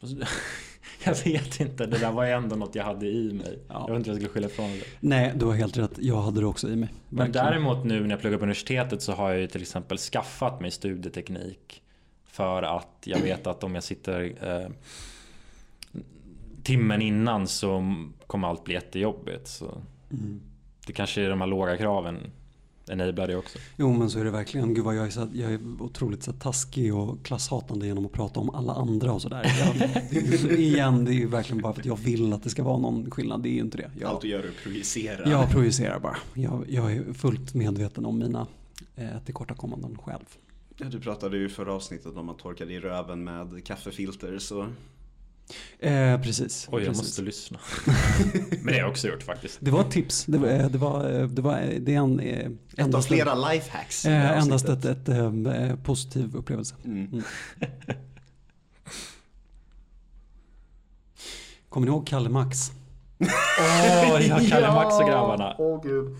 S1: alltså, <laughs> Jag vet inte, det där var ju ändå något jag hade i mig.
S3: Ja.
S1: Jag vet inte hur jag skulle skylla ifrån det.
S3: Nej, du har helt rätt. Jag hade det också i mig.
S1: Men
S3: Verkligen.
S1: däremot nu när jag pluggar på universitetet så har jag ju till exempel skaffat mig studieteknik. För att jag vet att om jag sitter eh, timmen innan så kommer allt bli jättejobbigt. Så
S3: Mm.
S1: det kanske är de här låga kraven enablar det också.
S3: Jo men så är det verkligen. Gud vad jag är, så, här- jag är otroligt så här, taskig och klasshatande genom att prata om alla andra och sådär.
S1: <laughs>
S3: Jag- Igen, det är ju verkligen bara för att jag vill att det ska vara någon skillnad. Det är ju inte det.
S2: Allt
S3: Jag,
S2: du gör är att projicera.
S3: jag projicerar bara. Jag, jag är fullt medveten om mina eh, tillkortakommanden själv.
S2: Ja, Du pratade ju i förra avsnittet om att torka dig i röven med kaffefilter så
S3: Eh, precis.
S1: Oj, jag
S3: precis.
S1: måste lyssna. <laughs> Men det har jag också gjort faktiskt.
S3: Det var ett tips. Det var, eh, det var, eh, det var eh, det är en, eh,
S2: ett av
S3: endast,
S2: flera lifehacks. i det här
S3: eh, endast
S2: avsnittet.
S3: ett, ett eh, positiv upplevelse.
S2: Mm.
S3: Kommer ni ihåg Kalle Max?
S1: Åh, <laughs> ja, Kalle Max och grabbarna.
S2: Åh gud.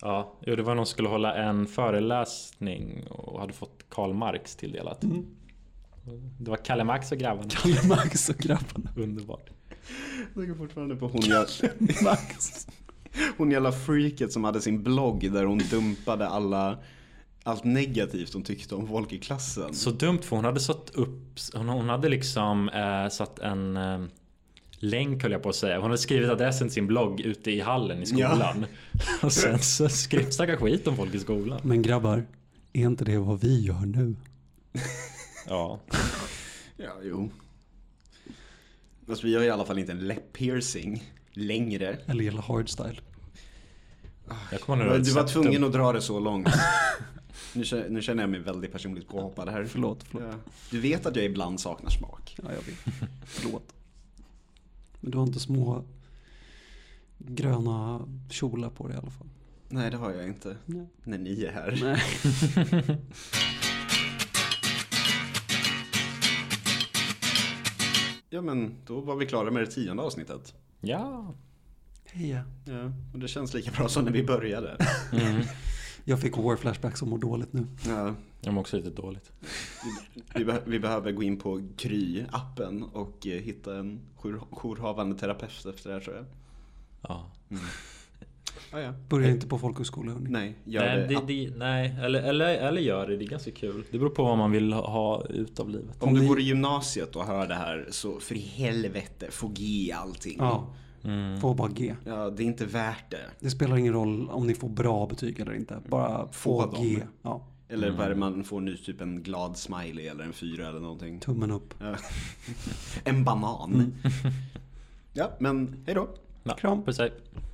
S1: Ja, jo, det var någon som skulle hålla en föreläsning och hade fått Karl Marx tilldelat.
S2: Mm.
S1: Det var Kalle Marx och grabbarna.
S3: <laughs> Kalle Max och <laughs> grabbarna.
S1: Underbart.
S2: Jag går fortfarande på hon jag,
S3: Max.
S2: hon jävla freaket som hade sin blogg där hon dumpade alla allt negativt hon tyckte om folk i klassen.
S1: Så dumt för hon hade satt upp, hon, hon hade liksom eh, satt en eh, länk höll jag på att säga. Hon hade skrivit adressen till sin blogg ute i hallen i
S2: <laughs>
S1: skolan. Och
S3: Alltså,
S1: sen så skrev stackars skit om folk i skolan.
S3: Men grabbar, är inte det vad vi gör nu?
S1: Ja.
S2: Ja, jo. Alltså, vi har i alla fall inte en läpp-piercing längre.
S3: Eller hela hardstyle.
S1: Jag kommer ihåg
S2: Men
S1: att
S2: Du
S1: jag
S2: var
S1: satt
S2: tvungen
S1: upp-
S2: att dra det så långt. Nu känner, nu känner jag mig väldigt personligt påhoppad här.
S3: Förlåt, förlåt.
S2: Ja. Du vet att jag ibland saknar smak.
S3: Ja, jag vet. <laughs> förlåt. Men du har inte små gröna kjolar på dig i alla fall.
S2: Nej, det har jag inte.
S3: Nej.
S2: När ni är här.
S3: Nej.
S2: Ja, men då var vi klara med det tionde avsnittet.
S1: Ja.
S3: Heja.
S2: Ja, och det känns lika bra som när vi
S3: <laughs>
S2: började.
S3: Jag fick war flashbacks och mår dåligt nu.
S2: Ja,
S1: Jag mår också lite dåligt.
S2: vi, beh- vi behöver gå in på Kry-appen och eh, hitta en jour- jourhavande terapeut efter det här tror jag.
S1: Ja.
S2: Ja, ja.
S3: Börja inte på folkhögskola hörni.
S2: Nej, gör
S1: Nej,
S2: det.
S1: det, det, nej. Eller, eller, eller gör det. Det är ganska kul. Det beror på vad man vill ha- ha ut av livet.
S2: Om du går i gymnasiet och hör det här så för i helvete, få G i allting.
S3: Ja. Få bara G.
S2: Ja, det är inte värt det.
S3: Det spelar ingen roll om ni får bra betyg eller inte. Bara få,
S2: Få dem.
S3: G. Ja.
S2: Eller vad är det man får nu? Typ en glad smiley eller en fyra eller någonting.
S3: Tummen upp.
S2: Ja. <laughs> en banan. ja, men hej då.
S1: Ja,
S3: Kram.
S1: Puss hej.